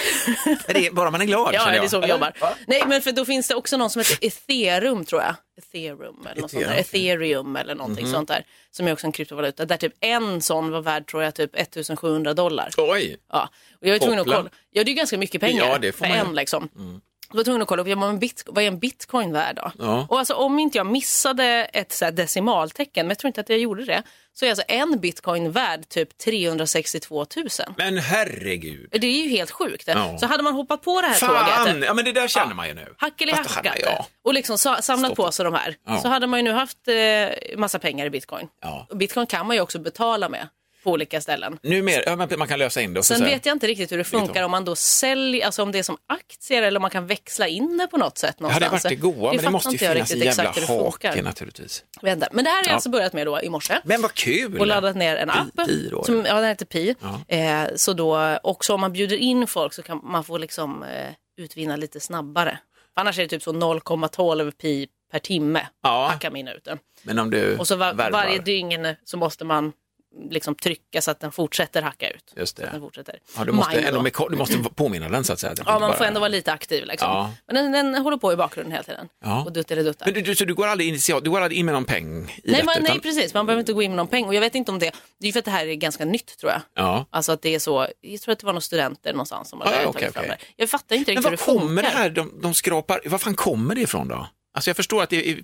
Speaker 6: det är bara man är glad,
Speaker 5: ja,
Speaker 6: känner
Speaker 5: det
Speaker 6: jag.
Speaker 5: är så vi jobbar. Nej, men för då finns det också någon som heter ethereum tror jag. Ethereum eller något sånt där. Ethereum eller någonting
Speaker 6: Mhm.
Speaker 5: sånt där. Som är också en kryptovaluta. Där typ en sån var värd tror jag typ 1700 dollar.
Speaker 6: Oj!
Speaker 5: Ja, och jag är tvungen att
Speaker 6: Hoppla.
Speaker 5: kolla. Ja, det är ganska mycket pengar
Speaker 6: Ja, det får
Speaker 5: för
Speaker 6: man ju. Mm.
Speaker 5: en liksom. Jag var tvungen att kolla upp, ja, men bit, vad är en bitcoin värd då?
Speaker 6: Ja.
Speaker 5: Och alltså om inte jag missade ett så här decimaltecken, men jag tror inte att jag gjorde det, så är alltså en bitcoin värd typ 362 000.
Speaker 6: Men herregud.
Speaker 5: Det är ju helt sjukt.
Speaker 6: Ja.
Speaker 5: Så hade man hoppat på det här
Speaker 6: Fan!
Speaker 5: tåget,
Speaker 6: Ja, men det där känner man ju nu.
Speaker 5: hackel i
Speaker 6: Fast det
Speaker 5: hackat
Speaker 6: hade- Ja.
Speaker 5: och liksom sa- samlat på sig de här,
Speaker 6: Ja.
Speaker 5: så hade man ju nu haft eh, massa pengar i bitcoin.
Speaker 6: Ja.
Speaker 5: Och bitcoin kan man ju också betala med på olika ställen.
Speaker 6: Numer, ja, men man kan lösa in det. Och så
Speaker 5: Sen
Speaker 6: så här-
Speaker 5: vet jag inte riktigt hur det funkar om man då säljer, alltså om det är som aktier eller om man kan växla in det på något sätt
Speaker 6: Ja, det hade
Speaker 5: någonstans.
Speaker 6: varit det goda, men det
Speaker 5: fattar
Speaker 6: måste ju
Speaker 5: inte jag
Speaker 6: finnas en
Speaker 5: riktigt
Speaker 6: jävla
Speaker 5: exakt hur det funkar.
Speaker 6: hake naturligtvis.
Speaker 5: Jag vet inte. Men det här har jag alltså börjat med då i morse.
Speaker 6: Men vad kul!
Speaker 5: och laddat ner en
Speaker 6: Pi-
Speaker 5: app.
Speaker 6: Pi då,
Speaker 5: som,
Speaker 6: eller?
Speaker 5: ja, den heter Pi.
Speaker 6: Ja.
Speaker 5: Eh, så då, också om man bjuder in folk så kan man få liksom, eh, utvinna lite snabbare. För annars är det typ så 0,12 pi per timme.
Speaker 6: Ja.
Speaker 5: Hackar minuten.
Speaker 6: Men om du
Speaker 5: Och så var,
Speaker 6: värvar.
Speaker 5: varje dygn så måste man liksom trycka så att den fortsätter hacka ut.
Speaker 6: Just
Speaker 5: Den
Speaker 6: det.
Speaker 5: fortsätter.
Speaker 6: Ja, du, måste
Speaker 5: Mine
Speaker 6: ändå
Speaker 5: då.
Speaker 6: med, du måste påminna den så att säga. Det
Speaker 5: Ja, man
Speaker 6: bara-
Speaker 5: får ändå vara lite aktiv. Liksom.
Speaker 6: Ja.
Speaker 5: Men den, den håller på i bakgrunden hela tiden.
Speaker 6: Ja.
Speaker 5: Och duttar
Speaker 6: Men du, du, så du går aldrig initialt, du går aldrig in med någon peng i
Speaker 5: Nej,
Speaker 6: detta?
Speaker 5: man, nej,
Speaker 6: utan-
Speaker 5: precis. Man behöver inte gå in med någon peng. Och jag vet inte om det. Det är ju för att det här är ganska nytt tror jag.
Speaker 6: Ja.
Speaker 5: Alltså att det är så. Jag tror att det var någon studenter någonstans som
Speaker 6: Ja,
Speaker 5: hade
Speaker 6: Ah, ja,
Speaker 5: tagit
Speaker 6: okej,
Speaker 5: fram
Speaker 6: okej.
Speaker 5: det. Jag fattar inte
Speaker 6: Men
Speaker 5: riktigt hur
Speaker 6: var
Speaker 5: det
Speaker 6: kommer
Speaker 5: funkar.
Speaker 6: det här, de, de skrapar, var fan kommer det ifrån då? Alltså jag förstår att det är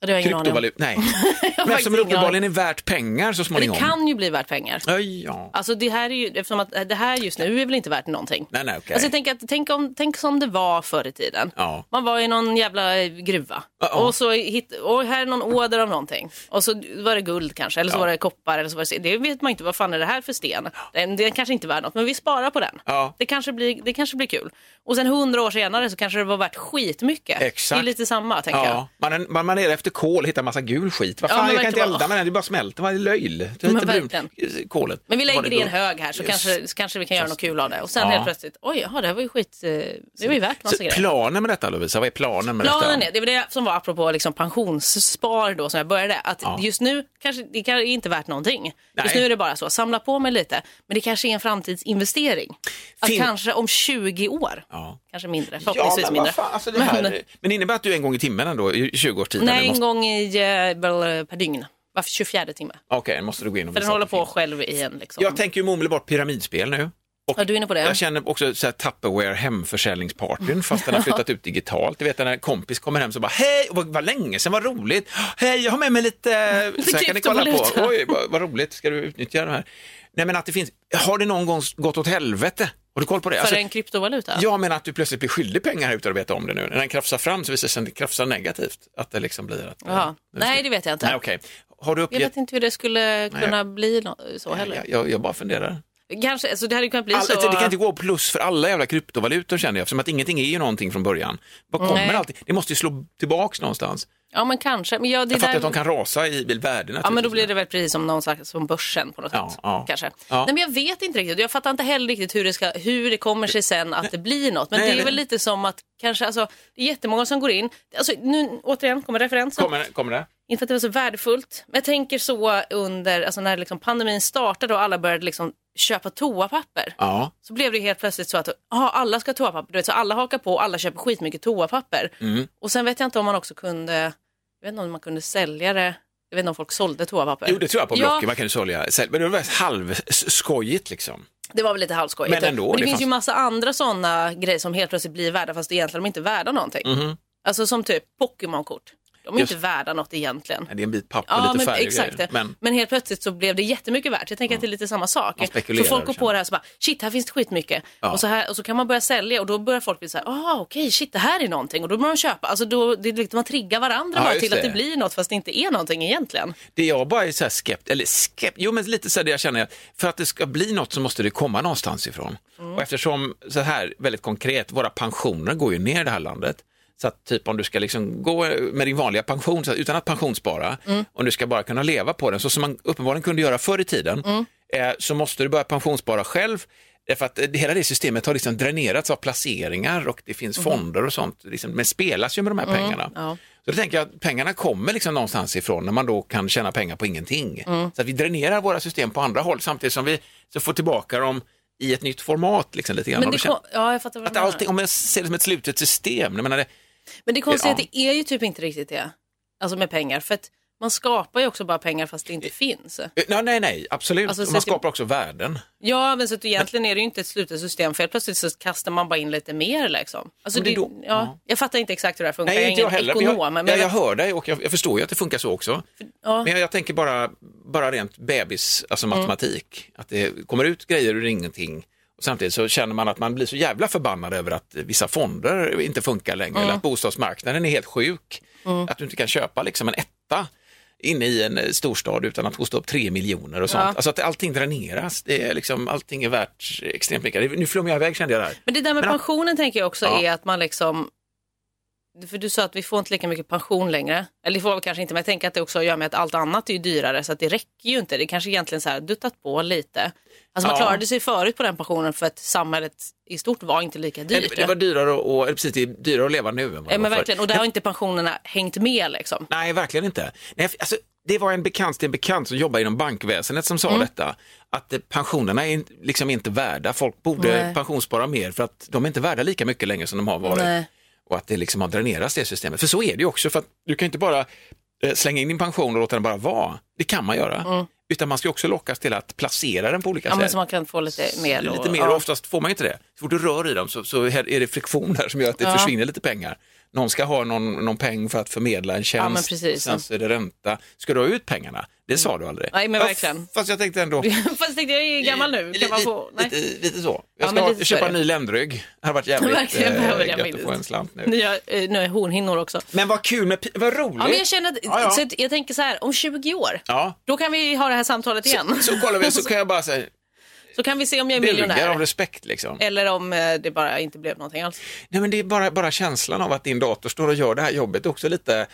Speaker 5: Ja, det har jag ingen aning om.
Speaker 6: kryptovaluta, nej.
Speaker 5: Jag har
Speaker 6: Men
Speaker 5: faktiskt
Speaker 6: eftersom det
Speaker 5: ingen aning.
Speaker 6: uppenbarligen är värt pengar så
Speaker 5: Men
Speaker 6: småningom.
Speaker 5: det kan ju bli värt pengar.
Speaker 6: Ja, ja.
Speaker 5: Alltså det här är ju, eftersom att det här just nu är väl inte värt någonting.
Speaker 6: Nej, nej, okej.
Speaker 5: Alltså jag tänker att, tänk, om, tänk som det var förr i tiden.
Speaker 6: Ja.
Speaker 5: Man var i någon jävla eh, gruva
Speaker 6: Uh-oh.
Speaker 5: och så hitt, och här är någon åder av någonting. Och så var det guld kanske, eller så
Speaker 6: Ja.
Speaker 5: var det koppar. Eller så var det, sten. det vet man inte, vad fan är det här för sten? Den, den kanske inte är värd något, men vi sparar på den.
Speaker 6: Ja.
Speaker 5: Det, kanske blir, det kanske blir kul. Och sen hundra år senare så kanske det var värt skitmycket.
Speaker 6: Exakt.
Speaker 5: Det är lite samma, tänker jag.
Speaker 6: Ja, man, är, man, man är efter kol, hittar massa gul skit. Vad
Speaker 5: Ja,
Speaker 6: fan,
Speaker 5: men
Speaker 6: jag kan inte
Speaker 5: verkligen.
Speaker 6: elda med den, det bara smälter. Vad är löjl? Det är
Speaker 5: Men
Speaker 6: lite
Speaker 5: verkligen.
Speaker 6: brunt, kolet.
Speaker 5: Men vi
Speaker 6: Var
Speaker 5: lägger
Speaker 6: det
Speaker 5: det i en
Speaker 6: då?
Speaker 5: hög här så
Speaker 6: Just.
Speaker 5: kanske, så kanske vi kan göra något kul av det. Och sen
Speaker 6: Ja.
Speaker 5: helt plötsligt, oj, jaha, det här var ju skit, eh, det var ju värt massa
Speaker 6: Så
Speaker 5: grejer.
Speaker 6: planen med detta Lovisa, vad är planen med
Speaker 5: Planen
Speaker 6: detta?
Speaker 5: är, det var det som var apropå liksom pensionsspar då som jag började, att
Speaker 6: Ja.
Speaker 5: just nu kanske det kan- är inte värt någonting. Just
Speaker 6: Nej.
Speaker 5: nu är det bara så, samla på mig lite, men det kanske är en framtidsinvestering. Att
Speaker 6: Fin-
Speaker 5: kanske om 20 år,
Speaker 6: Ja.
Speaker 5: kanske mindre,
Speaker 6: Ja,
Speaker 5: förhoppningsvis
Speaker 6: men,
Speaker 5: mindre.
Speaker 6: vad fan, alltså det
Speaker 5: Men-
Speaker 6: här, men, det innebär att du en gång i timmen ändå, i 20-årstiden,
Speaker 5: Nej,
Speaker 6: du
Speaker 5: en
Speaker 6: måste,
Speaker 5: gång i, eh, väl, per dygn, var 24 timme.
Speaker 6: Okej, måste du gå in och
Speaker 5: För den
Speaker 6: visa
Speaker 5: håller
Speaker 6: att det
Speaker 5: på
Speaker 6: finns.
Speaker 5: själv i en liksom.
Speaker 6: Jag tänker ju omedelbart pyramidspel nu.
Speaker 5: ja, du är inne på det?
Speaker 6: Jag känner också så här Tupperware hemförsäljningspartyn fast den har flyttat ut digitalt. Du vet när en kompis kommer hem så bara hej, vad, vad länge sedan, vad roligt. Hej, jag har med mig lite, så här kan ni kolla på.
Speaker 5: kryptovaluta.
Speaker 6: Oj, vad, vad roligt, ska du utnyttja det här? Nej men att det finns, har det någon gång gått åt helvete? Har du koll på det?
Speaker 5: För
Speaker 6: Alltså,
Speaker 5: en kryptovaluta?
Speaker 6: Jag menar att du plötsligt blir skyldig pengar här ute och vet om det nu. När den krafsar fram så visar det sig att den krafsar negativt. Att det liksom blir att...
Speaker 5: Jaha. Nej, det vet jag inte.
Speaker 6: Nej, okej. Har du
Speaker 5: Jag
Speaker 6: uppgett...
Speaker 5: vet inte hur det skulle
Speaker 6: Nej,
Speaker 5: kunna
Speaker 6: jag-
Speaker 5: bli nå- så heller.
Speaker 6: Jag, jag, jag bara funderar.
Speaker 5: Kanske, alltså det hade kunnat bli
Speaker 6: All,
Speaker 5: så.
Speaker 6: det, det kan inte gå plus för alla jävla kryptovalutor känner jag, eftersom att ingenting är ju någonting från början. Vad kommer
Speaker 5: Mm. Nej.
Speaker 6: allting? Det måste ju slå tillbaks någonstans.
Speaker 5: Ja, men kanske. Men ja, det
Speaker 6: Jag fattar
Speaker 5: där...
Speaker 6: att de kan rasa i i värdena.
Speaker 5: Ja, men då
Speaker 6: typ.
Speaker 5: blir det väl precis som någon slags, som börsen på något
Speaker 6: Ja,
Speaker 5: sätt.
Speaker 6: ja.
Speaker 5: Kanske.
Speaker 6: Ja.
Speaker 5: Nej, men jag vet inte riktigt. Jag fattar inte heller riktigt hur det, ska, hur det kommer sig sen att det blir något. Men
Speaker 6: Nej,
Speaker 5: det är
Speaker 6: nej.
Speaker 5: väl lite som att kanske, alltså, det är jättemånga som går in. Alltså, nu återigen kommer referensen.
Speaker 6: Kommer, kommer det?
Speaker 5: Inte för att det var så värdefullt. Men jag tänker så under, alltså när liksom pandemin startade och alla började liksom köpa toapapper.
Speaker 6: Ja.
Speaker 5: Så blev det helt plötsligt så att aha, alla ska ha toapapper. Du vet, så alla hakar på och alla köper skitmycket toapapper.
Speaker 6: Mm.
Speaker 5: Och sen vet jag inte om man också kunde, jag vet inte om man kunde sälja det. Jag vet inte om folk sålde toapapper.
Speaker 6: Jo, det tror jag på
Speaker 5: Ja,
Speaker 6: Blocket. Man kan ju sälja. sälj- Men det var halvskojigt liksom.
Speaker 5: det var väl lite halvskojigt.
Speaker 6: Men ändå,
Speaker 5: men det,
Speaker 6: det
Speaker 5: finns
Speaker 6: fanns-
Speaker 5: ju massa andra sådana grejer som helt plötsligt blir värda fast egentligen de inte är värda någonting. Alltså som typ Pokémon-kort. De är
Speaker 6: Mhm. Just-
Speaker 5: inte värda något egentligen.
Speaker 6: Det är en bit papper,
Speaker 5: Ja,
Speaker 6: lite
Speaker 5: men,
Speaker 6: färg och
Speaker 5: exakt.
Speaker 6: grejer. Men
Speaker 5: Men... helt plötsligt så blev det jättemycket värt. Jag tänker att det är lite samma sak.
Speaker 6: Man
Speaker 5: Så
Speaker 6: spekulerar, liksom.
Speaker 5: folk går på det här så bara, shit, här finns det skitmycket.
Speaker 6: Ja.
Speaker 5: Och, så här, och så kan man börja sälja och då börjar folk bli så här, ah, okej, shit, det här är någonting. Och då börjar man köpa. Alltså då, det är liksom, man triggar varandra
Speaker 6: Ja,
Speaker 5: bara
Speaker 6: just
Speaker 5: till att
Speaker 6: det.
Speaker 5: det blir något fast det inte är någonting egentligen.
Speaker 6: det jag bara är så här skept, eller skept, jo men lite så här det jag känner, att för att det ska bli något så måste det komma någonstans ifrån. Och eftersom, så här väldigt konkret, våra pensioner går ju ner i det här landet. Så att typ om du ska liksom gå med din vanliga pension, så att, utan att pensionsspara, om du ska bara kunna leva på den, så som man uppenbarligen kunde göra förr i tiden, eh, så måste du börja pensionsspara själv. Därför att eh, det- hela det systemet har liksom dränerats av placeringar och det finns fonder och sånt, liksom, men spelas ju med de här pengarna.
Speaker 5: ja.
Speaker 6: Så då tänker jag att pengarna kommer liksom någonstans ifrån när man då kan tjäna pengar på ingenting.
Speaker 5: Mm.
Speaker 6: Så att vi dränerar våra system på andra håll samtidigt som vi så får tillbaka dem i ett nytt format. Liksom, lite grann.
Speaker 5: Men
Speaker 6: Och
Speaker 5: det,
Speaker 6: då känner-
Speaker 5: kom, ja, jag fattar vad
Speaker 6: att
Speaker 5: du menar.
Speaker 6: allting, om jag ser det som ett slutet system, jag menar det,
Speaker 5: Men det konstiga är att
Speaker 6: Ja.
Speaker 5: det är ju typ inte riktigt det. Alltså med pengar. För att man skapar ju också bara pengar fast det inte finns.
Speaker 6: eh, nej, nej, nej, absolut.
Speaker 5: Alltså, så
Speaker 6: man
Speaker 5: att det-
Speaker 6: skapar också värden.
Speaker 5: Ja, men så att egentligen är det ju inte ett slutet system för helt plötsligt så kastar man bara in lite mer liksom. Alltså,
Speaker 6: Men det
Speaker 5: det,
Speaker 6: är då-
Speaker 5: ja,
Speaker 6: ja.
Speaker 5: Jag fattar inte exakt hur det här funkar,
Speaker 6: Nej,
Speaker 5: jag är
Speaker 6: inte jag
Speaker 5: ingen
Speaker 6: heller. men
Speaker 5: ekonom.
Speaker 6: jag,
Speaker 5: men
Speaker 6: jag, jag hör dig och jag, jag förstår ju att det funkar så också.
Speaker 5: ja. Mm.
Speaker 6: Men jag, jag tänker bara, bara rent bebis, alltså matematik, att det kommer ut grejer ur ingenting. Och samtidigt så känner man att man blir så jävla förbannad över att vissa fonder inte funkar längre,
Speaker 5: Mm.
Speaker 6: eller att bostadsmarknaden är helt sjuk. Att du inte kan köpa liksom en etta inne i en eh, storstad utan att hosta upp tre miljoner och sånt.
Speaker 5: Ja.
Speaker 6: Alltså att allting dräneras, det är liksom, allting är värt extremt mycket. Nu flummar jag iväg kände jag där.
Speaker 5: men det där med
Speaker 6: Men-
Speaker 5: pensionen tänker jag också
Speaker 6: Ja.
Speaker 5: är att man liksom... För du sa att vi får inte lika mycket pension längre. Eller det får vi kanske inte, men jag tänker att det också gör med att allt annat är ju dyrare så att det räcker ju inte. Det kanske egentligen så här duttat på lite. Alltså man
Speaker 6: Ja.
Speaker 5: klarade sig förut på den pensionen för att samhället i stort var inte lika dyrt.
Speaker 6: Det, det var dyrare, och, eller precis, det är dyrare att leva nu än vad det
Speaker 5: Ja,
Speaker 6: var
Speaker 5: men
Speaker 6: förr.
Speaker 5: verkligen, och där har inte pensionerna hängt med liksom.
Speaker 6: Nej, verkligen inte. Nej, f- alltså, det var en bekant till en bekant som jobbar inom bankväsendet som sa
Speaker 5: Mm.
Speaker 6: detta. Att eh, pensionerna är in- liksom inte värda, folk borde
Speaker 5: Nej.
Speaker 6: pensionsspara mer för att de är inte värda lika mycket längre som de har varit.
Speaker 5: Nej.
Speaker 6: Och att det liksom har dränerats det systemet. För så är det ju också, för att du kan inte bara eh, slänga in din pension och låta den bara vara. Det kan man göra. Utan man ska också lockas till att placera den på olika
Speaker 5: Mm. Ja, men
Speaker 6: sätt.
Speaker 5: så man kan få lite mer.
Speaker 6: Lite
Speaker 5: och-
Speaker 6: mer
Speaker 5: ja.
Speaker 6: och oftast får man inte det. Så fort du rör i dem så, så här är det friktion där som gör att det
Speaker 5: Ja.
Speaker 6: försvinner lite pengar. Någon ska ha någon, någon peng för att förmedla en tjänst,
Speaker 5: Ja, men precis.
Speaker 6: sen så är det ränta. Ska du ha ut pengarna? Det sa du aldrig.
Speaker 5: Nej, men
Speaker 6: Ja,
Speaker 5: verkligen.
Speaker 6: Fast jag tänkte ändå...
Speaker 5: Fast tänkte jag är gammal nu, kan man få...
Speaker 6: Lite,
Speaker 5: Nej.
Speaker 6: lite, lite så.
Speaker 5: Ja,
Speaker 6: Jag ska
Speaker 5: men
Speaker 6: ha-
Speaker 5: lite så
Speaker 6: köpa
Speaker 5: är
Speaker 6: en
Speaker 5: det.
Speaker 6: ny ländrygg. Det hade varit jävligt
Speaker 5: Verkligen
Speaker 6: eh,
Speaker 5: behöver jag
Speaker 6: gött att
Speaker 5: minst.
Speaker 6: få en slant nu.
Speaker 5: Nya, eh, nu är hornhinnor också.
Speaker 6: Men vad kul med... pi- Vad roligt!
Speaker 5: Ja, men jag känner att,
Speaker 6: Ja, ja.
Speaker 5: Så att jag tänker så här, om 20 år,
Speaker 6: Ja.
Speaker 5: då kan vi ha det här samtalet igen.
Speaker 6: Så kollar vi, så kan jag bara säga,
Speaker 5: Så kan vi se om jag är
Speaker 6: bugar av
Speaker 5: miljonär.
Speaker 6: respekt liksom.
Speaker 5: Eller om eh, det bara inte blev någonting alls.
Speaker 6: Nej, men det är bara, bara känslan av att din dator står och gör det här jobbet. Det är också lite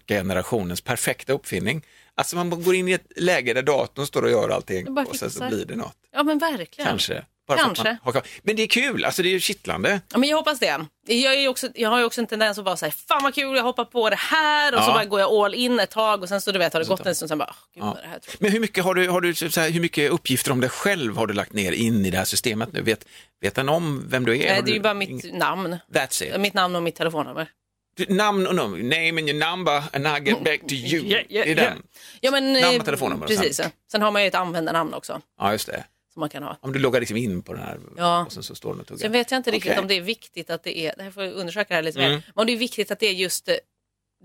Speaker 6: orka-generationens perfekta uppfinning. Alltså man går in i ett läge där datorn står och gör allting
Speaker 5: Det bara
Speaker 6: och sen så
Speaker 5: fixar.
Speaker 6: blir det något.
Speaker 5: Ja, men verkligen.
Speaker 6: Kanske. Bara för att
Speaker 5: Kanske.
Speaker 6: man hakar- Men det är kul, alltså det är ju kittlande.
Speaker 5: Ja, men jag hoppas det. Jag, är ju också, jag har ju också en tendens att bara säga fan vad kul, jag hoppar på det här och så
Speaker 6: Ja.
Speaker 5: bara går jag all in ett tag och sen så du vet har det gått en stund sen bara, "Åh, gud vad det här är tråkigt."
Speaker 6: Men hur mycket, har du, har du, så här, hur mycket uppgifter om dig själv har du lagt ner in i det här systemet nu? Vet, vet den om vem du är? Har
Speaker 5: Nej, Eh, det är
Speaker 6: du-
Speaker 5: ju bara mitt namn.
Speaker 6: That's it.
Speaker 5: Mitt namn och mitt telefonnummer.
Speaker 6: Du- Namn och nummer, name and your number and I get back to you.
Speaker 5: Ja, ja,
Speaker 6: det är
Speaker 5: ja.
Speaker 6: den.
Speaker 5: Ja, men,
Speaker 6: Namn och
Speaker 5: eh,
Speaker 6: telefonnummer
Speaker 5: Precis.
Speaker 6: sen.
Speaker 5: Sen. har man ju ett användarnamn också
Speaker 6: Ja, just det.
Speaker 5: som man kan ha.
Speaker 6: Om du loggar liksom in på den här
Speaker 5: Ja.
Speaker 6: och sen så står den och tuggar.
Speaker 5: Sen vet jag inte riktigt
Speaker 6: Okej. Mm.
Speaker 5: om det är viktigt att det är, det här får jag undersöka här lite mer, men om det är viktigt att det är just eh,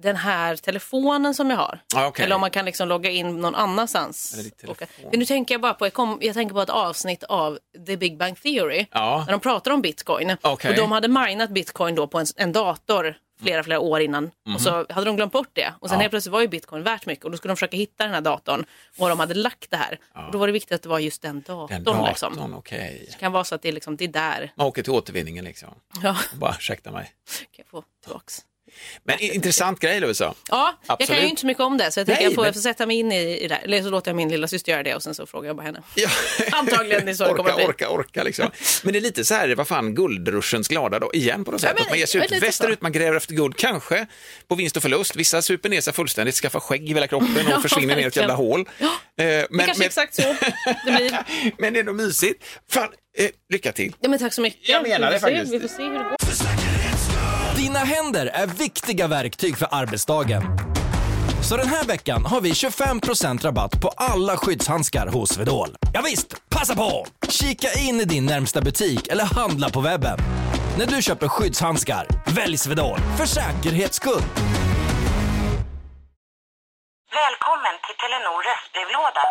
Speaker 5: den här telefonen som jag har.
Speaker 6: Ja, okej.
Speaker 5: Eller om man kan liksom logga in någon
Speaker 6: Eller
Speaker 5: annanstans.
Speaker 6: ditt telefon.
Speaker 5: Och- Men nu tänker jag bara på, jag, kom, jag tänker på ett avsnitt av The Big Bang Theory.
Speaker 6: Ja.
Speaker 5: När de pratar om bitcoin.
Speaker 6: Okej.
Speaker 5: Och de hade minat bitcoin då på en, en dator flera, flera år innan. Och så
Speaker 6: Mhm.
Speaker 5: hade de glömt bort det. Och sen helt plötsligt var ju bitcoin värt mycket. Och då skulle de försöka hitta den här datorn. Och de hade lagt det här. Och då var det viktigt att det var just den datorn.
Speaker 6: Den datorn,
Speaker 5: Liksom. Det
Speaker 6: okej.
Speaker 5: kan vara så att det är, liksom, det är där.
Speaker 6: Man åker till återvinningen liksom.
Speaker 5: Ja,
Speaker 6: Och bara, ursäkta mig.
Speaker 5: kan jag få tillbaks.
Speaker 6: Men i- intressant grej Lovisa.
Speaker 5: Ja, jag kan
Speaker 6: Absolut.
Speaker 5: ju inte så mycket om det så jag tänker
Speaker 6: Nej,
Speaker 5: jag, får,
Speaker 6: men-
Speaker 5: jag får sätta mig in i, i det här. Eller så låter jag min lilla syster göra det och sen så frågar jag bara henne.
Speaker 6: Ja.
Speaker 5: Antagligen är så det kommer
Speaker 6: orka,
Speaker 5: att bli.
Speaker 6: orka, orka liksom. Men det är lite så här, vad fan, guldruschens glada dag igen på något sätt.
Speaker 5: men
Speaker 6: att man ger sig
Speaker 5: det är
Speaker 6: ut
Speaker 5: lite
Speaker 6: västerut, man gräver efter guld, kanske på vinst och förlust. Vissa super ner sig fullständigt, skaffar skägg i hela kroppen och
Speaker 5: Ja,
Speaker 6: försvinner ner i ett jävla
Speaker 5: verkligen.
Speaker 6: hål. Eh, Men,
Speaker 5: det kanske är exakt så det blir.
Speaker 6: men det är nog mysigt. Fan, eh, lycka till.
Speaker 5: Ja, men tack så mycket.
Speaker 6: Jag menar
Speaker 5: Vi får
Speaker 6: det
Speaker 5: se-
Speaker 6: faktiskt.
Speaker 5: Vi får se hur det går.
Speaker 1: Dina händer är viktiga verktyg för arbetsdagen. Så den här veckan har vi 25% rabatt på alla skyddshandskar hos Swedol. Ja visst, passa på! Kika in i din närmsta butik eller handla på webben. När du köper skyddshandskar, välj Swedol för säkerhets skull.
Speaker 8: Välkommen till Telenor röstbrevlåda.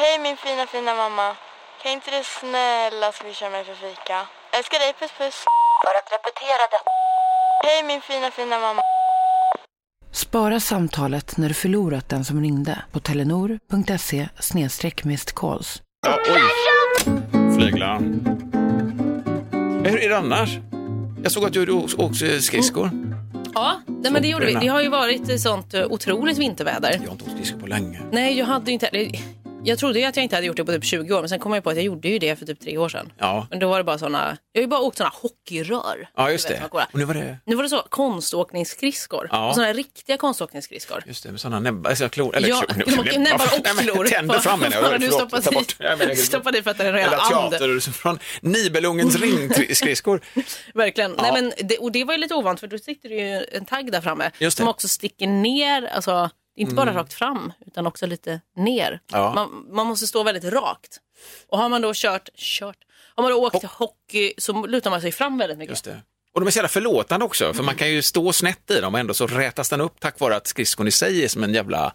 Speaker 9: Hej min fina fina mamma. Kan inte du snälla swisha mig för fika? Älskar dig, puss puss.
Speaker 8: För att repetera detta.
Speaker 9: Hej min fina fina mamma.
Speaker 10: Spara samtalet när du förlorat den som ringde på telenor.se calls.
Speaker 6: Ja, oj. Flyglarm. Eh, Hur är det annars? Jag såg att du åkte också skridskor.
Speaker 5: Ja, nej, men det gjorde vi. Det har ju varit eh, sånt eh, otroligt vinterväder.
Speaker 6: Jag har inte åkt skridskor på länge.
Speaker 5: Nej, jag hade ju inte... eller, Jag trodde ju att jag inte hade gjort det på typ 20 år, men sen kom jag på att jag gjorde ju det för typ tre år sedan.
Speaker 6: Ja,
Speaker 5: Men då var det bara såna... Jag har ju bara åkt såna hockeyrör.
Speaker 6: ja just
Speaker 5: Du vet,
Speaker 6: det.
Speaker 5: man går-
Speaker 6: Och nu var det...
Speaker 5: Nu var det så konståkningsskridskor.
Speaker 6: Ja.
Speaker 5: Och Såna riktiga konståkningsskridskor.
Speaker 6: Just det, med sådana näbbar, alltså klor, eller
Speaker 5: Ja,
Speaker 6: klor,
Speaker 5: de har näbbar och
Speaker 6: Nej, men
Speaker 5: klor.
Speaker 6: Tänder fram menar jag,
Speaker 5: Bara du
Speaker 6: förlåt,
Speaker 5: stoppar
Speaker 6: ta bort.
Speaker 5: dit-
Speaker 6: Jag menar, gud.
Speaker 5: stoppar dit för att den är en
Speaker 6: Eller
Speaker 5: and.
Speaker 6: teater, från Nibelungens ringskridskor.
Speaker 5: Verkligen.
Speaker 6: Ja.
Speaker 5: Nej, men det, och det var ju lite ovant för då sitter det ju en tagg där framme
Speaker 6: Just det. Mm.
Speaker 5: som också sticker ner, alltså inte bara rakt fram utan också lite ner.
Speaker 6: Ja.
Speaker 5: Man, man måste stå väldigt rakt. Och har man då kört, kört, har man då åkt hockey så lutar man sig fram väldigt mycket.
Speaker 6: Just det. Och de är så jävla förlåtande också, för man kan ju stå snett i dem och ändå så rätas den upp tack vare att skridskon i sig är som en jävla,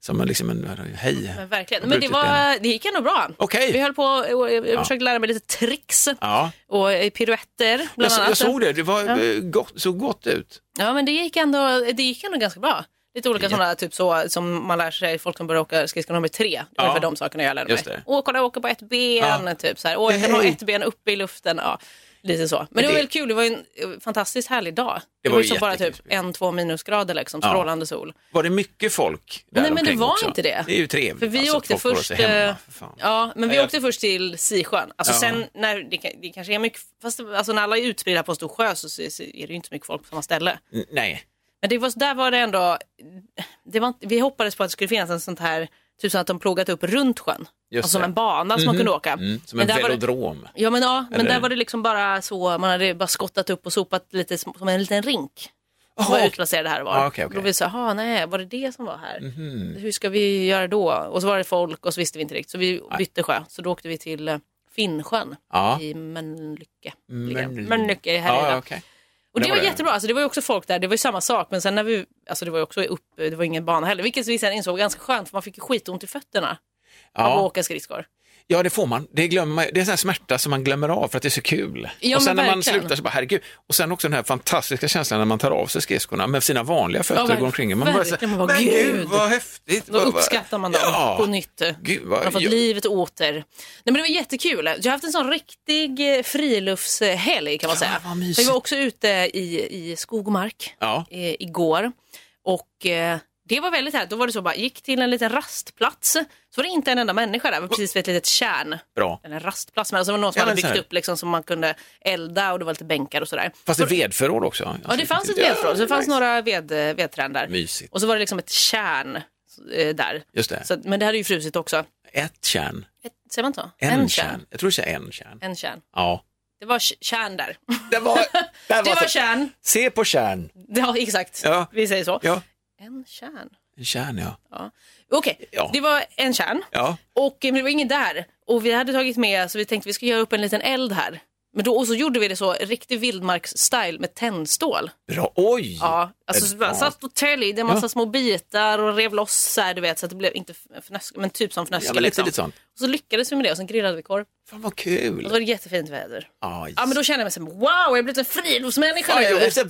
Speaker 6: som en, liksom en, hej.
Speaker 5: Mm. Men verkligen.
Speaker 6: Jag
Speaker 5: Men det,
Speaker 6: brutit benet.
Speaker 5: var, det gick ändå bra.
Speaker 6: Okej.
Speaker 5: Vi höll på och jag försökte lära mig lite tricks
Speaker 6: Ja,
Speaker 5: och eh, piruetter
Speaker 6: jag,
Speaker 5: bland annat.
Speaker 6: jag såg det, det var, eh, gott, såg gott ut.
Speaker 5: Ja, men det gick ändå, det gick ändå ganska bra. Lite olika sådana typ så, som man lär sig folk som börjar åka skridskor nummer tre. Det var
Speaker 6: Ja.
Speaker 5: ungefär de sakerna jag lärde mig.
Speaker 6: Just det.
Speaker 5: Åh, kolla jag åker på ett ben.
Speaker 6: Ja.
Speaker 5: Typ, så här. Åh, jag kan
Speaker 6: Hej.
Speaker 5: ha ett ben uppe i luften. Ja, lite så. Men, det var
Speaker 6: det-
Speaker 5: väl kul. Det var ju en eh, fantastiskt härlig dag. Det,
Speaker 6: var
Speaker 5: var
Speaker 6: ju
Speaker 5: liksom bara typ
Speaker 6: jättekul.
Speaker 5: en, två minusgrader liksom.
Speaker 6: Ja.
Speaker 5: Strålande sol.
Speaker 6: Var det mycket folk där
Speaker 5: Nej, men det
Speaker 6: omkring
Speaker 5: var
Speaker 6: också?
Speaker 5: inte det.
Speaker 6: Det är ju trevligt.
Speaker 5: För vi
Speaker 6: alltså, att
Speaker 5: åkte
Speaker 6: folk håller
Speaker 5: först,
Speaker 6: sig hemma,
Speaker 5: eh,
Speaker 6: för fan.
Speaker 5: ja, men vi
Speaker 6: Jag-
Speaker 5: åkte först till Sisjön. Alltså
Speaker 6: Ja.
Speaker 5: sen när det, kan- det kanske är mycket, fast det- alltså när alla är utspridda på en stor sjö så, så, så är det ju inte så mycket folk på samma ställe.
Speaker 6: N- Nej,
Speaker 5: Men det var, där var det ändå, det var, inte- vi hoppades på att det skulle finnas en sånt här, typ som att de plogat upp runt sjön.
Speaker 6: Just
Speaker 5: alltså som
Speaker 6: det.
Speaker 5: en bana som man kunde åka.
Speaker 6: mm, som
Speaker 5: Men
Speaker 6: en
Speaker 5: där var det-
Speaker 6: velodrom.
Speaker 5: Ja men ja, men
Speaker 6: Eller-
Speaker 5: där var det liksom bara så, man hade bara skottat upp och sopat lite sm- som en liten rink. Som
Speaker 6: Jaha,
Speaker 5: var
Speaker 6: ok.
Speaker 5: utplacerad här och var.
Speaker 6: Ah, okej, okej. Mhm.
Speaker 5: Då vi sa, jaha nej, var det det som var här? Hur ska vi göra då? Och så var det folk och så visste vi inte riktigt. Så vi bytte sjö, så då åkte vi till eh, Finnsjön
Speaker 6: Ja.
Speaker 5: i Mölnlycke.
Speaker 6: Mölnlycke.
Speaker 5: Mölnlycke i Härjedalen.
Speaker 6: Ja, ja, okej.
Speaker 5: Och det
Speaker 6: Det
Speaker 5: var
Speaker 6: var det.
Speaker 5: jättebra, alltså, det var ju också folk där, det var ju samma sak men sen när vi, alltså det var ju också upp, det var ingen bana heller, vilket vi sen insåg var ganska skönt för man fick ju skitont i fötterna av att
Speaker 6: Ja.
Speaker 5: åka skridskor.
Speaker 6: ja, det får man. Det, glömmer man. det är sån här smärta som man glömmer av för att det är så kul.
Speaker 5: Ja,
Speaker 6: och sen när
Speaker 5: men
Speaker 6: man
Speaker 5: verkligen.
Speaker 6: slutar så bara, herregud. Och sen också den här fantastiska känslan när man tar av sig skridskorna med sina vanliga fötter och
Speaker 5: verkligen.
Speaker 6: går omkring. Man bara, så,
Speaker 5: Verkligen, man bara,
Speaker 6: men
Speaker 5: gud."
Speaker 6: gud vad häftigt.
Speaker 5: Då
Speaker 6: Vad- vad-
Speaker 5: uppskattar man dem
Speaker 6: ja.
Speaker 5: på nytt.
Speaker 6: Gud, vad-
Speaker 5: man har fått
Speaker 6: jag-
Speaker 5: livet åter. Nej, men det var jättekul. Jag har haft en sån riktig eh, friluftshelg kan man säga.
Speaker 6: vad mysigt.
Speaker 5: vi var också ute i, i skog och mark
Speaker 6: Ja.
Speaker 5: eh, igår. Och eh, det var väldigt härligt. Då var det så bara, gick till en liten rastplats. Så var det inte en enda människa där. Det var precis vid ett litet kärn.
Speaker 6: Bra.
Speaker 5: Eller en rastplats. Men alltså, det var någon som
Speaker 6: Ja,
Speaker 5: hade
Speaker 6: men så här.
Speaker 5: byggt upp liksom, som man kunde elda och det var lite bänkar och sådär.
Speaker 6: Fast det är vedförråd också.
Speaker 5: Ja, det fanns ett vedförråd. Så det fanns några ved, vedträd där.
Speaker 6: Mysigt.
Speaker 5: Och så var det liksom ett kärn eh, där.
Speaker 6: Just det.
Speaker 5: Så, att- men det hade ju frusit också.
Speaker 6: Ett kärn.
Speaker 5: Ett, säger man så?
Speaker 6: En, kärn. Jag tror det är en kärn.
Speaker 5: En kärn.
Speaker 6: Ja.
Speaker 5: Det var k- kärn där.
Speaker 6: Det var, där
Speaker 5: Det var
Speaker 6: så-
Speaker 5: kärn.
Speaker 6: Se på kärn.
Speaker 5: Ja, exakt.
Speaker 6: Ja.
Speaker 5: Vi säger så.
Speaker 6: Ja,
Speaker 5: En kärn.
Speaker 6: en kärn ja.
Speaker 5: Okej,
Speaker 6: Ja.
Speaker 5: det var en kärn.
Speaker 6: Ja,
Speaker 5: Och eh, men det var ingen där. Och vi hade tagit med, så vi tänkte vi ska göra upp en liten eld här. Men då, och så gjorde vi det så, riktig vildmarksstyle med tändstål.
Speaker 6: bra. Oj!
Speaker 5: Ja, alltså
Speaker 6: Ett
Speaker 5: så bara
Speaker 6: barn.
Speaker 5: satt och tälj, det är massa små bitar och rev loss så här, du vet, så att det blev inte f- fnösk, men typ som fnöske
Speaker 6: Ja, men lite,
Speaker 5: liksom.
Speaker 6: lite sånt.
Speaker 5: Och så lyckades vi med det och sen grillade vi korv.
Speaker 6: Fan vad
Speaker 5: Och
Speaker 6: kul.
Speaker 5: så var det jättefint väder.
Speaker 6: Ja,
Speaker 5: Ja men då kände jag mig som wow, jag har blivit en friluftsmänniska
Speaker 6: Ja, jag
Speaker 5: nu.
Speaker 6: blev så här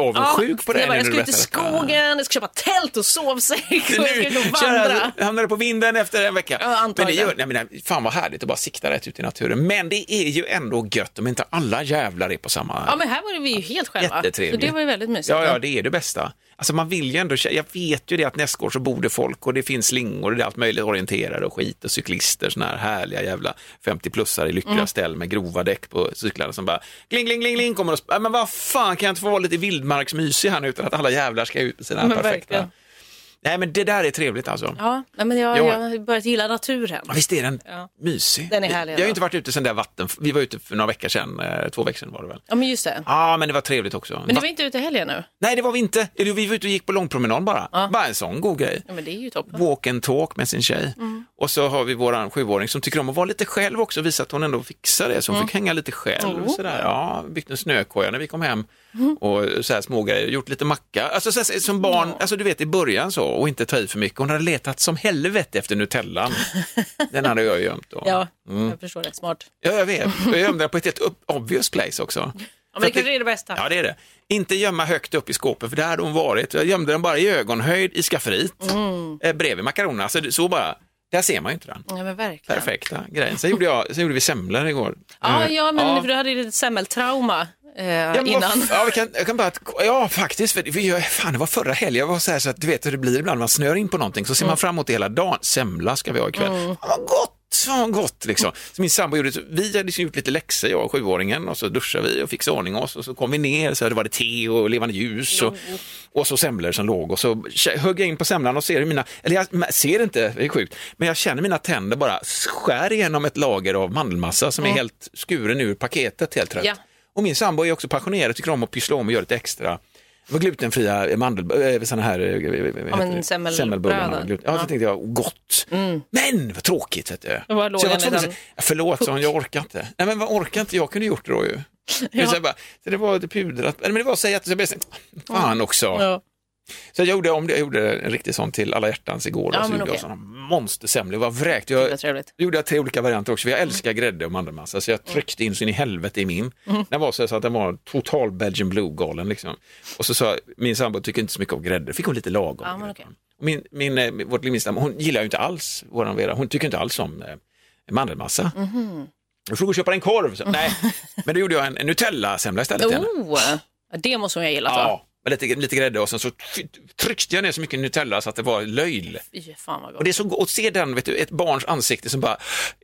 Speaker 6: vildmarksavundsjuk på dig
Speaker 5: jag bara,
Speaker 6: nu
Speaker 5: jag
Speaker 6: när
Speaker 5: ska
Speaker 6: du
Speaker 5: ut i
Speaker 6: berättar Ah. detta.
Speaker 5: skogen, jag ska köpa tält och sovsäck och jag
Speaker 6: Så
Speaker 5: ska ut och
Speaker 6: kör jag-
Speaker 5: vandra.
Speaker 6: hamnar du på vinden efter en vecka.
Speaker 5: Ja,
Speaker 6: men det
Speaker 5: antagligen.
Speaker 6: gör, nej, men, nej, fan vad härligt att bara sikta rätt ut i naturen. Men det är ju ändå gött om inte alla jävlar är på samma...
Speaker 5: Ja men här var det vi ju helt själva. Så
Speaker 6: Jättetrevligt.
Speaker 5: det var ju väldigt mysigt.
Speaker 6: Ja, ja, det är det bästa. Alltså man vill ju ändå, kä- jag vet ju det att nästa år så borde folk och det finns slingor och det är allt möjligt, orienterare och skit och cyklister, såna här härliga jävla 50-plussare i lyckliga
Speaker 5: Mm.
Speaker 6: ställ med grova däck på cyklarna som bara kling, kling, kling, kling kommer och sp- Ja, men vad fan kan jag inte få vara lite vildmarksmysig här nu utan att alla jävlar ska ut med sina
Speaker 5: Men
Speaker 6: perfekta
Speaker 5: verkligen.
Speaker 6: Nej, men det där är trevligt alltså.
Speaker 5: Ja, nej, men jag,
Speaker 6: Ja.
Speaker 5: jag har börjat gilla naturen.
Speaker 6: Ja, visst är den
Speaker 5: Ja.
Speaker 6: mysig?
Speaker 5: Den är härlig,
Speaker 6: jag har ju
Speaker 5: ja.
Speaker 6: inte varit ute sedan det där vatten... Vi var ute för några veckor sedan, eh, två veckor sedan var det väl?
Speaker 5: Ja, men just det.
Speaker 6: Ja, men det var trevligt också.
Speaker 5: Men
Speaker 6: Va-
Speaker 5: du var inte ute i helgen nu?
Speaker 6: Nej, det var vi inte. Eller Vi var ute och gick på långpromenad bara. Bara en sån god grej.
Speaker 5: Ja, men det är ju toppen.
Speaker 6: Walk and talk med sin tjej.
Speaker 5: Mm.
Speaker 6: Och så har vi våran sjuåring som tycker om att vara lite själv också och visa att hon ändå fixar det. Så hon fick hänga lite själv.
Speaker 5: Mm. Oh.
Speaker 6: Sådär. Ja, byggt en snökoja när vi kom hem och så här smågrejer, gjort lite macka. Alltså så här, som barn, alltså du vet i början så, och inte ta i för mycket. Hon hade letat som helvete efter Nutellan. Den hade jag gömt då.
Speaker 5: Ja,
Speaker 6: Mm.
Speaker 5: jag förstår det. Smart.
Speaker 6: Ja, jag vet. Jag gömde den på ett helt upp- obvious place också.
Speaker 5: Ja,
Speaker 6: För
Speaker 5: men det
Speaker 6: att
Speaker 5: kanske är det bästa.
Speaker 6: Ja, det är det. Inte gömma högt upp i skåpet, för där hade hon varit. Jag gömde den bara i ögonhöjd i skafferiet, eh, bredvid makaronerna. Så, så bara, där ser man ju inte den
Speaker 5: Ja, men verkligen.
Speaker 6: perfekta grejen. Sen gjorde, jag, sen gjorde vi semlor igår.
Speaker 5: Ja,
Speaker 6: Eh,
Speaker 5: ja, men för du hade ju lite semmeltrauma eh,
Speaker 6: Ja, men vad
Speaker 5: innan.
Speaker 6: f- Ja, vi kan, jag kan bara, ja, faktiskt. För, för jag, fan, det var förra helgen. Jag var så här så att du vet hur det blir ibland. Man snör in på någonting så ser man fram emot det hela dagen. Semla ska vi ha ikväll. Mm. Vad gott! Fan vad gott liksom. Så min sambo gjorde, så- vi hade liksom gjort lite läxor jag och sjuåringen och så duschade vi och fixade i ordning oss och så kom vi ner så här, det var det te och levande ljus och, och så semlor som låg och så kä- högg jag in på semlan och ser hur mina, eller jag m- ser inte, det är sjukt, men jag känner mina tänder bara skär igenom ett lager av mandelmassa som är helt skuren ur paketet helt rätt.
Speaker 5: Ja.
Speaker 6: Och min sambo är också passionerad och tycker om att pyssla om och göra lite extra. Det var glutenfria mandel, äh, såna här äh, vad heter
Speaker 5: Ja, men
Speaker 6: det?
Speaker 5: semmelbröden.
Speaker 6: semmelbullarna. Gluten- Ja,
Speaker 5: Ja. Mm.
Speaker 6: så tänkte jag, gott. Men vad tråkigt. Vet du.
Speaker 5: Och var låg
Speaker 6: så jag
Speaker 5: den i
Speaker 6: tvungen att
Speaker 5: den?
Speaker 6: säga, förlåt, sa hon, jag orkar inte. Nej, men vad orkar inte? Jag kunde gjort det då ju. Men Så, jag bara, så det var det pudrat, Nej, men det var att säga att så jag blev så- fan också.
Speaker 5: Ja.
Speaker 6: Så jag gjorde om det, jag gjorde en riktig sån till alla hjärtans igår
Speaker 5: Ja,
Speaker 6: och så
Speaker 5: men
Speaker 6: gjorde jag
Speaker 5: okej.
Speaker 6: såna monstersemlor, det var vräkt.
Speaker 5: Det var
Speaker 6: Jag,
Speaker 5: trevligt.
Speaker 6: gjorde jag tre olika varianter också, för jag älskar grädde och mandelmassa, så
Speaker 5: Mm.
Speaker 6: jag tryckte in så in i helvete i min. Den var så, här så att den var total Belgian blue-galen liksom. Och så sa jag, min sambo tycker inte så mycket om grädde, fick hon lite lagom.
Speaker 5: Ja, men
Speaker 6: grädde.
Speaker 5: okej.
Speaker 6: Och min, min, eh, vårt minsta, hon gillar ju inte alls våran Vera, hon tycker inte alls om eh, mandelmassa.
Speaker 5: Mhm.
Speaker 6: Då får du gå och köpa en korv. Så, nej, men då gjorde jag en, en Nutella-semla istället. till henne.
Speaker 5: Oh, ja, det måste hon ju ha gillat va?
Speaker 6: Ja, Alltså, med lite, lite grädde och sen så fy- tryckte jag ner så mycket Nutella så att det var löjl.
Speaker 5: Fy fan vad
Speaker 6: Och
Speaker 5: gott.
Speaker 6: det är så gott att se den, vet du, ett barns ansikte som bara,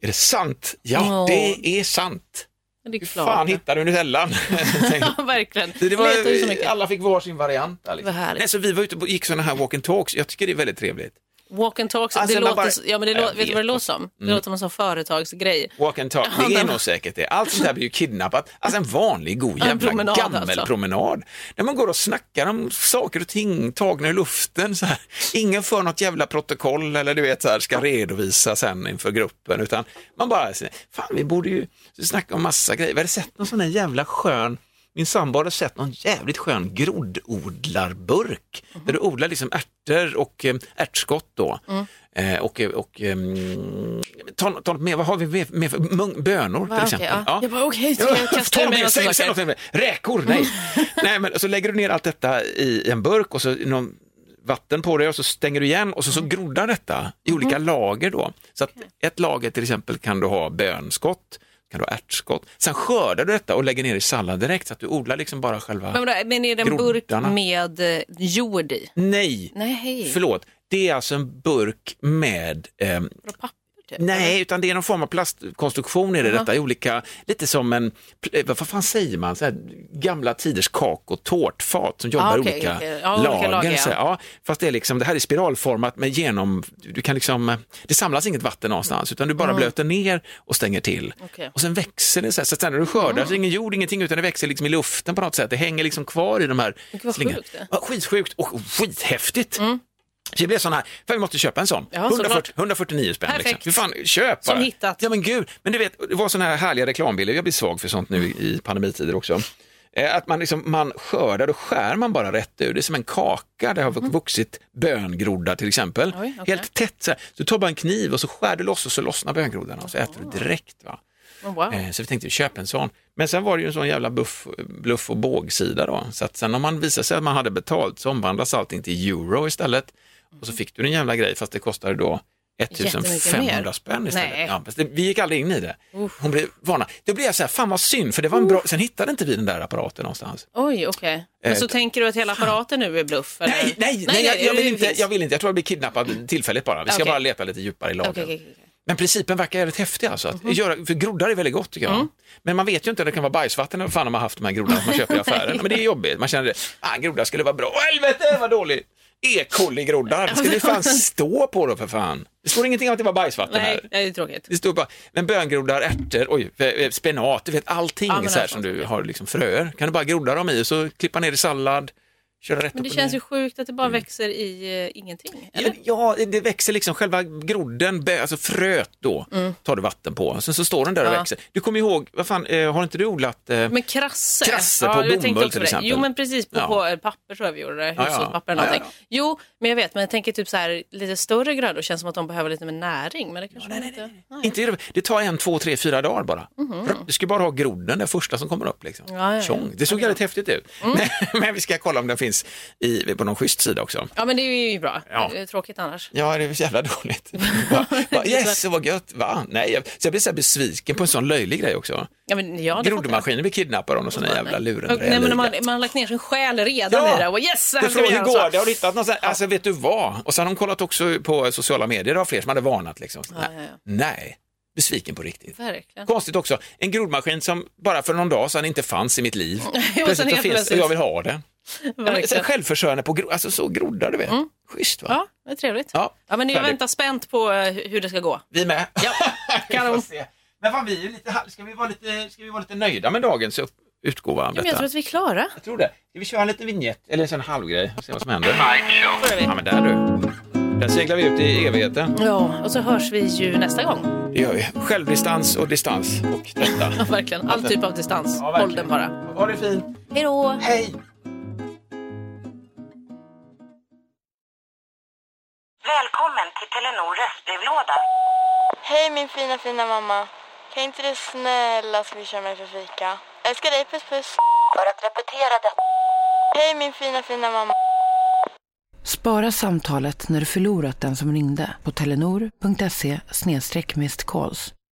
Speaker 6: är det sant? Ja,
Speaker 5: Ja.
Speaker 6: det är sant.
Speaker 5: Det, det är
Speaker 6: Hur
Speaker 5: klart.
Speaker 6: fan hittade du Nutellan? Tänkte-
Speaker 5: Ja, verkligen.
Speaker 6: det
Speaker 5: Letar ju så
Speaker 6: var,
Speaker 5: mycket.
Speaker 6: alla fick var sin variant. där, liksom."
Speaker 5: Vad härligt.
Speaker 6: Nej, så vi var ute och gick sådana här walk and talks. Jag tycker det är väldigt trevligt.
Speaker 5: Walk and talks,
Speaker 6: Alltså,
Speaker 5: det
Speaker 6: man
Speaker 5: låter,
Speaker 6: bara-
Speaker 5: så- ja, men det
Speaker 6: Jag
Speaker 5: låter, vet du
Speaker 6: vet Mm.
Speaker 5: vad det låter som? Det låter som en sån företagsgrej.
Speaker 6: Walk and talk, det är nog säkert det. Allt sånt här blir ju kidnappat. Alltså en vanlig god jävla
Speaker 5: promenad
Speaker 6: gammelpromenad.
Speaker 5: alltså.
Speaker 6: promenad. Där man går och snackar om saker och ting tagna i luften. Så här. Ingen för något jävla protokoll eller du vet så här, ska redovisa sen inför gruppen. Utan man bara, säger, fan vi borde ju snacka om massa grejer. Vi hade sett någon sån här jävla skön min sambo hade sett någon jävligt skön groddodlarburk
Speaker 5: Mhm.
Speaker 6: där du odlar liksom ärtor och eh, ärtskott då.
Speaker 5: Mm.
Speaker 6: Eh, och och ehm, ta, ta något mer, vad har vi mer, mer för mung, bönor till
Speaker 5: okej,
Speaker 6: exempel?
Speaker 5: ja. Jag bara, okej, ska jag kasta
Speaker 6: ta
Speaker 5: i mig
Speaker 6: mer,
Speaker 5: något
Speaker 6: säg-
Speaker 5: sånt
Speaker 6: säg
Speaker 5: här?
Speaker 6: något mer. Räkor, nej. nej men, och så lägger du ner allt detta i en burk och så någon vatten på det och så stänger du igen och så,
Speaker 5: Mm.
Speaker 6: så groddar detta i olika lager då. Så att ett lager till exempel kan du ha bönskott, kan du ha ärtskott. Sen skördar du detta och lägger ner i sallad direkt så att du odlar liksom bara själva...
Speaker 5: Men, vadå, men är det en burk
Speaker 6: Groddarna.
Speaker 5: med eh, jord i?
Speaker 6: Nej,
Speaker 5: Nej, hej.
Speaker 6: förlåt. Det är alltså en burk med ehm,
Speaker 5: Typ.
Speaker 6: Nej, utan det är någon form av plastkonstruktion i det, detta i olika, lite som en, eh, vad fan säger man, så här, gamla tiders kak och tårtfat som jobbar i
Speaker 5: Ah, okej,
Speaker 6: olika,
Speaker 5: okej. Ja, olika
Speaker 6: lager.
Speaker 5: lager,
Speaker 6: så här, ja. fast det är liksom, det här är spiralformat med genom, du kan liksom, eh, det samlas inget vatten någonstans utan du bara blöter ner och stänger till.
Speaker 5: Okej. Ah.
Speaker 6: Och sen växer det så här, så att sen när du skördar så är det ingen jord, ingenting utan det växer liksom i luften på något sätt. Det hänger liksom kvar i de här
Speaker 5: vad
Speaker 6: slingarna.
Speaker 5: sjukt det. Mm.
Speaker 6: Ja, skitsjukt och skithäftigt. Så det blev sån här, för vi måste köpa en sån.
Speaker 5: Ja,
Speaker 6: 140,
Speaker 5: såklart.
Speaker 6: 149 spänn. Liksom.
Speaker 5: Perfekt.
Speaker 6: Hur fan, köp
Speaker 5: Som
Speaker 6: bara.
Speaker 5: hittat.
Speaker 6: Ja men gud, men du vet, det var såna här härliga reklambilder, jag blir svag för sånt nu i pandemitider också. Eh, Att man, liksom, man skördar, då skär man bara rätt ur. Det är som en kaka, det har vuxit böngrodda till exempel.
Speaker 5: Mm. Oj, okej.
Speaker 6: Helt tätt så här. Så du tar bara en kniv och så skär du loss och så lossnar böngroddarna och så äter du direkt. Va?
Speaker 5: Men Oh, Wow.
Speaker 6: Eh, Så vi tänkte köpa en sån. Men sen var det ju en sån jävla buff, bluff och bågsida då. Så att sen om man visade sig att man hade betalt så omvandlas allting till euro istället. Och så fick du den jävla grej fast det kostade då
Speaker 5: Mm. Jättemycket
Speaker 6: 1500
Speaker 5: mer.
Speaker 6: spänn
Speaker 5: Nej.
Speaker 6: istället. Ja, fast det, vi gick aldrig in i det. Hon blev varnad. Då blev jag så här, fan vad synd, för det var en bra, sen hittade inte vi den där apparaten någonstans.
Speaker 5: Oj, okej. Men
Speaker 6: Eh,
Speaker 5: så tänker du att hela apparaten nu är bluff? eller?
Speaker 6: Nej, nej, nej, jag, jag,
Speaker 5: det
Speaker 6: vill inte,
Speaker 5: finns.
Speaker 6: jag vill inte, jag tror jag blir kidnappad tillfälligt bara. Vi ska
Speaker 5: Okej.
Speaker 6: bara leta lite djupare i lagren.
Speaker 5: Okej, okej, okej.
Speaker 6: Men principen verkar rätt häftig alltså.
Speaker 5: Mhm.
Speaker 6: Att göra, för groddar är väldigt gott tycker jag.
Speaker 5: Mm.
Speaker 6: Men man vet ju inte, det kan vara bajsvatten eller vad fan de har haft de här groddarna som man köper i affären. Men det är jobbigt, man känner det. Ah, groddar skulle vara bra. Åh, helvete vad dåligt! E-coli-groddar. Ska det fan stå på då för fan? Det står ingenting om att det var bajsvatten
Speaker 5: Nej,
Speaker 6: här.
Speaker 5: det är tråkigt.
Speaker 6: Det står bara, men böngroddar, ärtor, oj, eh, spenat, du vet allting
Speaker 5: Ja, men
Speaker 6: så här
Speaker 5: alltså.
Speaker 6: som du har liksom fröer. Kan du bara groda dem i och så klippa ner i sallad, köra rätt
Speaker 5: Men det
Speaker 6: upp och
Speaker 5: känns
Speaker 6: ner.
Speaker 5: ju sjukt att det bara växer i eh, ingenting. Eller?
Speaker 6: Mm. Ja, det växer liksom själva grodden, bö- alltså fröet då, tar du vatten på. Sen så står den där och
Speaker 5: Mm. Ja.
Speaker 6: växer. Du kommer ihåg, vad fan, eh, har inte du odlat eh,
Speaker 5: Men krasse.
Speaker 6: Krasse på
Speaker 5: jag tänkte
Speaker 6: bomull,
Speaker 5: också
Speaker 6: till
Speaker 5: det.
Speaker 6: exempel.
Speaker 5: Jo men precis, på,
Speaker 6: Ja.
Speaker 5: på eh, papper tror jag vi gjorde det.
Speaker 6: ja.
Speaker 5: Hushållspapper eller
Speaker 6: Ja, ja,
Speaker 5: någonting. Jo, men jag vet, men jag tänker typ så här lite större grödor känns som att de behöver lite mer näring. Men det kanske de inte...
Speaker 6: Inte, det- det tar en, två, tre, fyra dagar bara. Rup, Du ska bara ha groden, den första som kommer upp. Liksom.
Speaker 5: Mhm. Ja, ja, Mm.
Speaker 6: Tjong. Det såg jävligt häftigt ut. Men, men vi ska kolla om den finns i, på någon schysst sida också.
Speaker 5: Ja men det är ju bra.
Speaker 6: Ja.
Speaker 5: Det är Tråkigt annars.
Speaker 6: Ja, det är så jävla dåligt. Bara, bara, yes, vad gött. Va? Nej, jag, så jag blir så här besviken på en sån löjlig grej också.
Speaker 5: Ja, men, ja, det fattar jag.
Speaker 6: Grodmaskiner blir kidnappade av någon sån här jävla
Speaker 5: Och- Nej, men
Speaker 6: lurendrejare.
Speaker 5: man, man har lagt ner sin själ redan i det och yes, så här
Speaker 6: du
Speaker 5: ska vi
Speaker 6: frågar hur
Speaker 5: göra.
Speaker 6: går
Speaker 5: så.
Speaker 6: det? Har du hittat någon sån här? Alltså vet du vad? Och sen har de kollat också på sociala medier, det var fler som hade varnat liksom.
Speaker 5: Ja, ja,
Speaker 6: nej,
Speaker 5: ja.
Speaker 6: nej, besviken på riktigt.
Speaker 5: Verkligen.
Speaker 6: Konstigt också, en grodmaskin som bara för någon dag sedan inte fanns i mitt liv.
Speaker 5: helt
Speaker 6: plötsligt så finns det
Speaker 5: plötsligt.
Speaker 6: och jag vill ha den. Ja, men sen
Speaker 5: Verkligen. Mm.
Speaker 6: Självförsörjande på gro- alltså så groddar du vet. Schysst va?
Speaker 5: Ja, det är trevligt.
Speaker 6: Ja,
Speaker 5: Ja, men jag
Speaker 6: härligt.
Speaker 5: väntar spänt på eh, hur det ska gå.
Speaker 6: Vi med.
Speaker 5: Ja, kanon.
Speaker 6: Men fan, vi är ju lite, här- ska, vi vara lite, ska vi vara lite nöjda med dagens upp- utgåva av
Speaker 5: Ja, men jag
Speaker 6: detta?
Speaker 5: tror att vi är klara.
Speaker 6: Jag tror det. Ska vi köra en liten vignett eller så en halvgrej och se vad som händer? Ja men där du. Där seglar vi ut i evigheten.
Speaker 5: Ja, och så hörs vi ju nästa gång.
Speaker 6: Det gör vi. Självdistans och distans och detta.
Speaker 5: Ja, verkligen. All typ av distans.
Speaker 6: Ja,
Speaker 5: Håll
Speaker 6: verkligen.
Speaker 5: den bara.
Speaker 6: Ha det fint.
Speaker 5: Hej då!
Speaker 6: Hej!
Speaker 8: Välkommen till Telenor röstbrevlåda.
Speaker 9: Hej min fina fina mamma. Kan inte du snälla swisha mig för fika? Älskar dig, puss puss.
Speaker 8: För att repetera detta.
Speaker 9: Hej min fina fina mamma.
Speaker 10: Spara samtalet när du förlorat den som ringde på telenor.se snedstreck missed calls.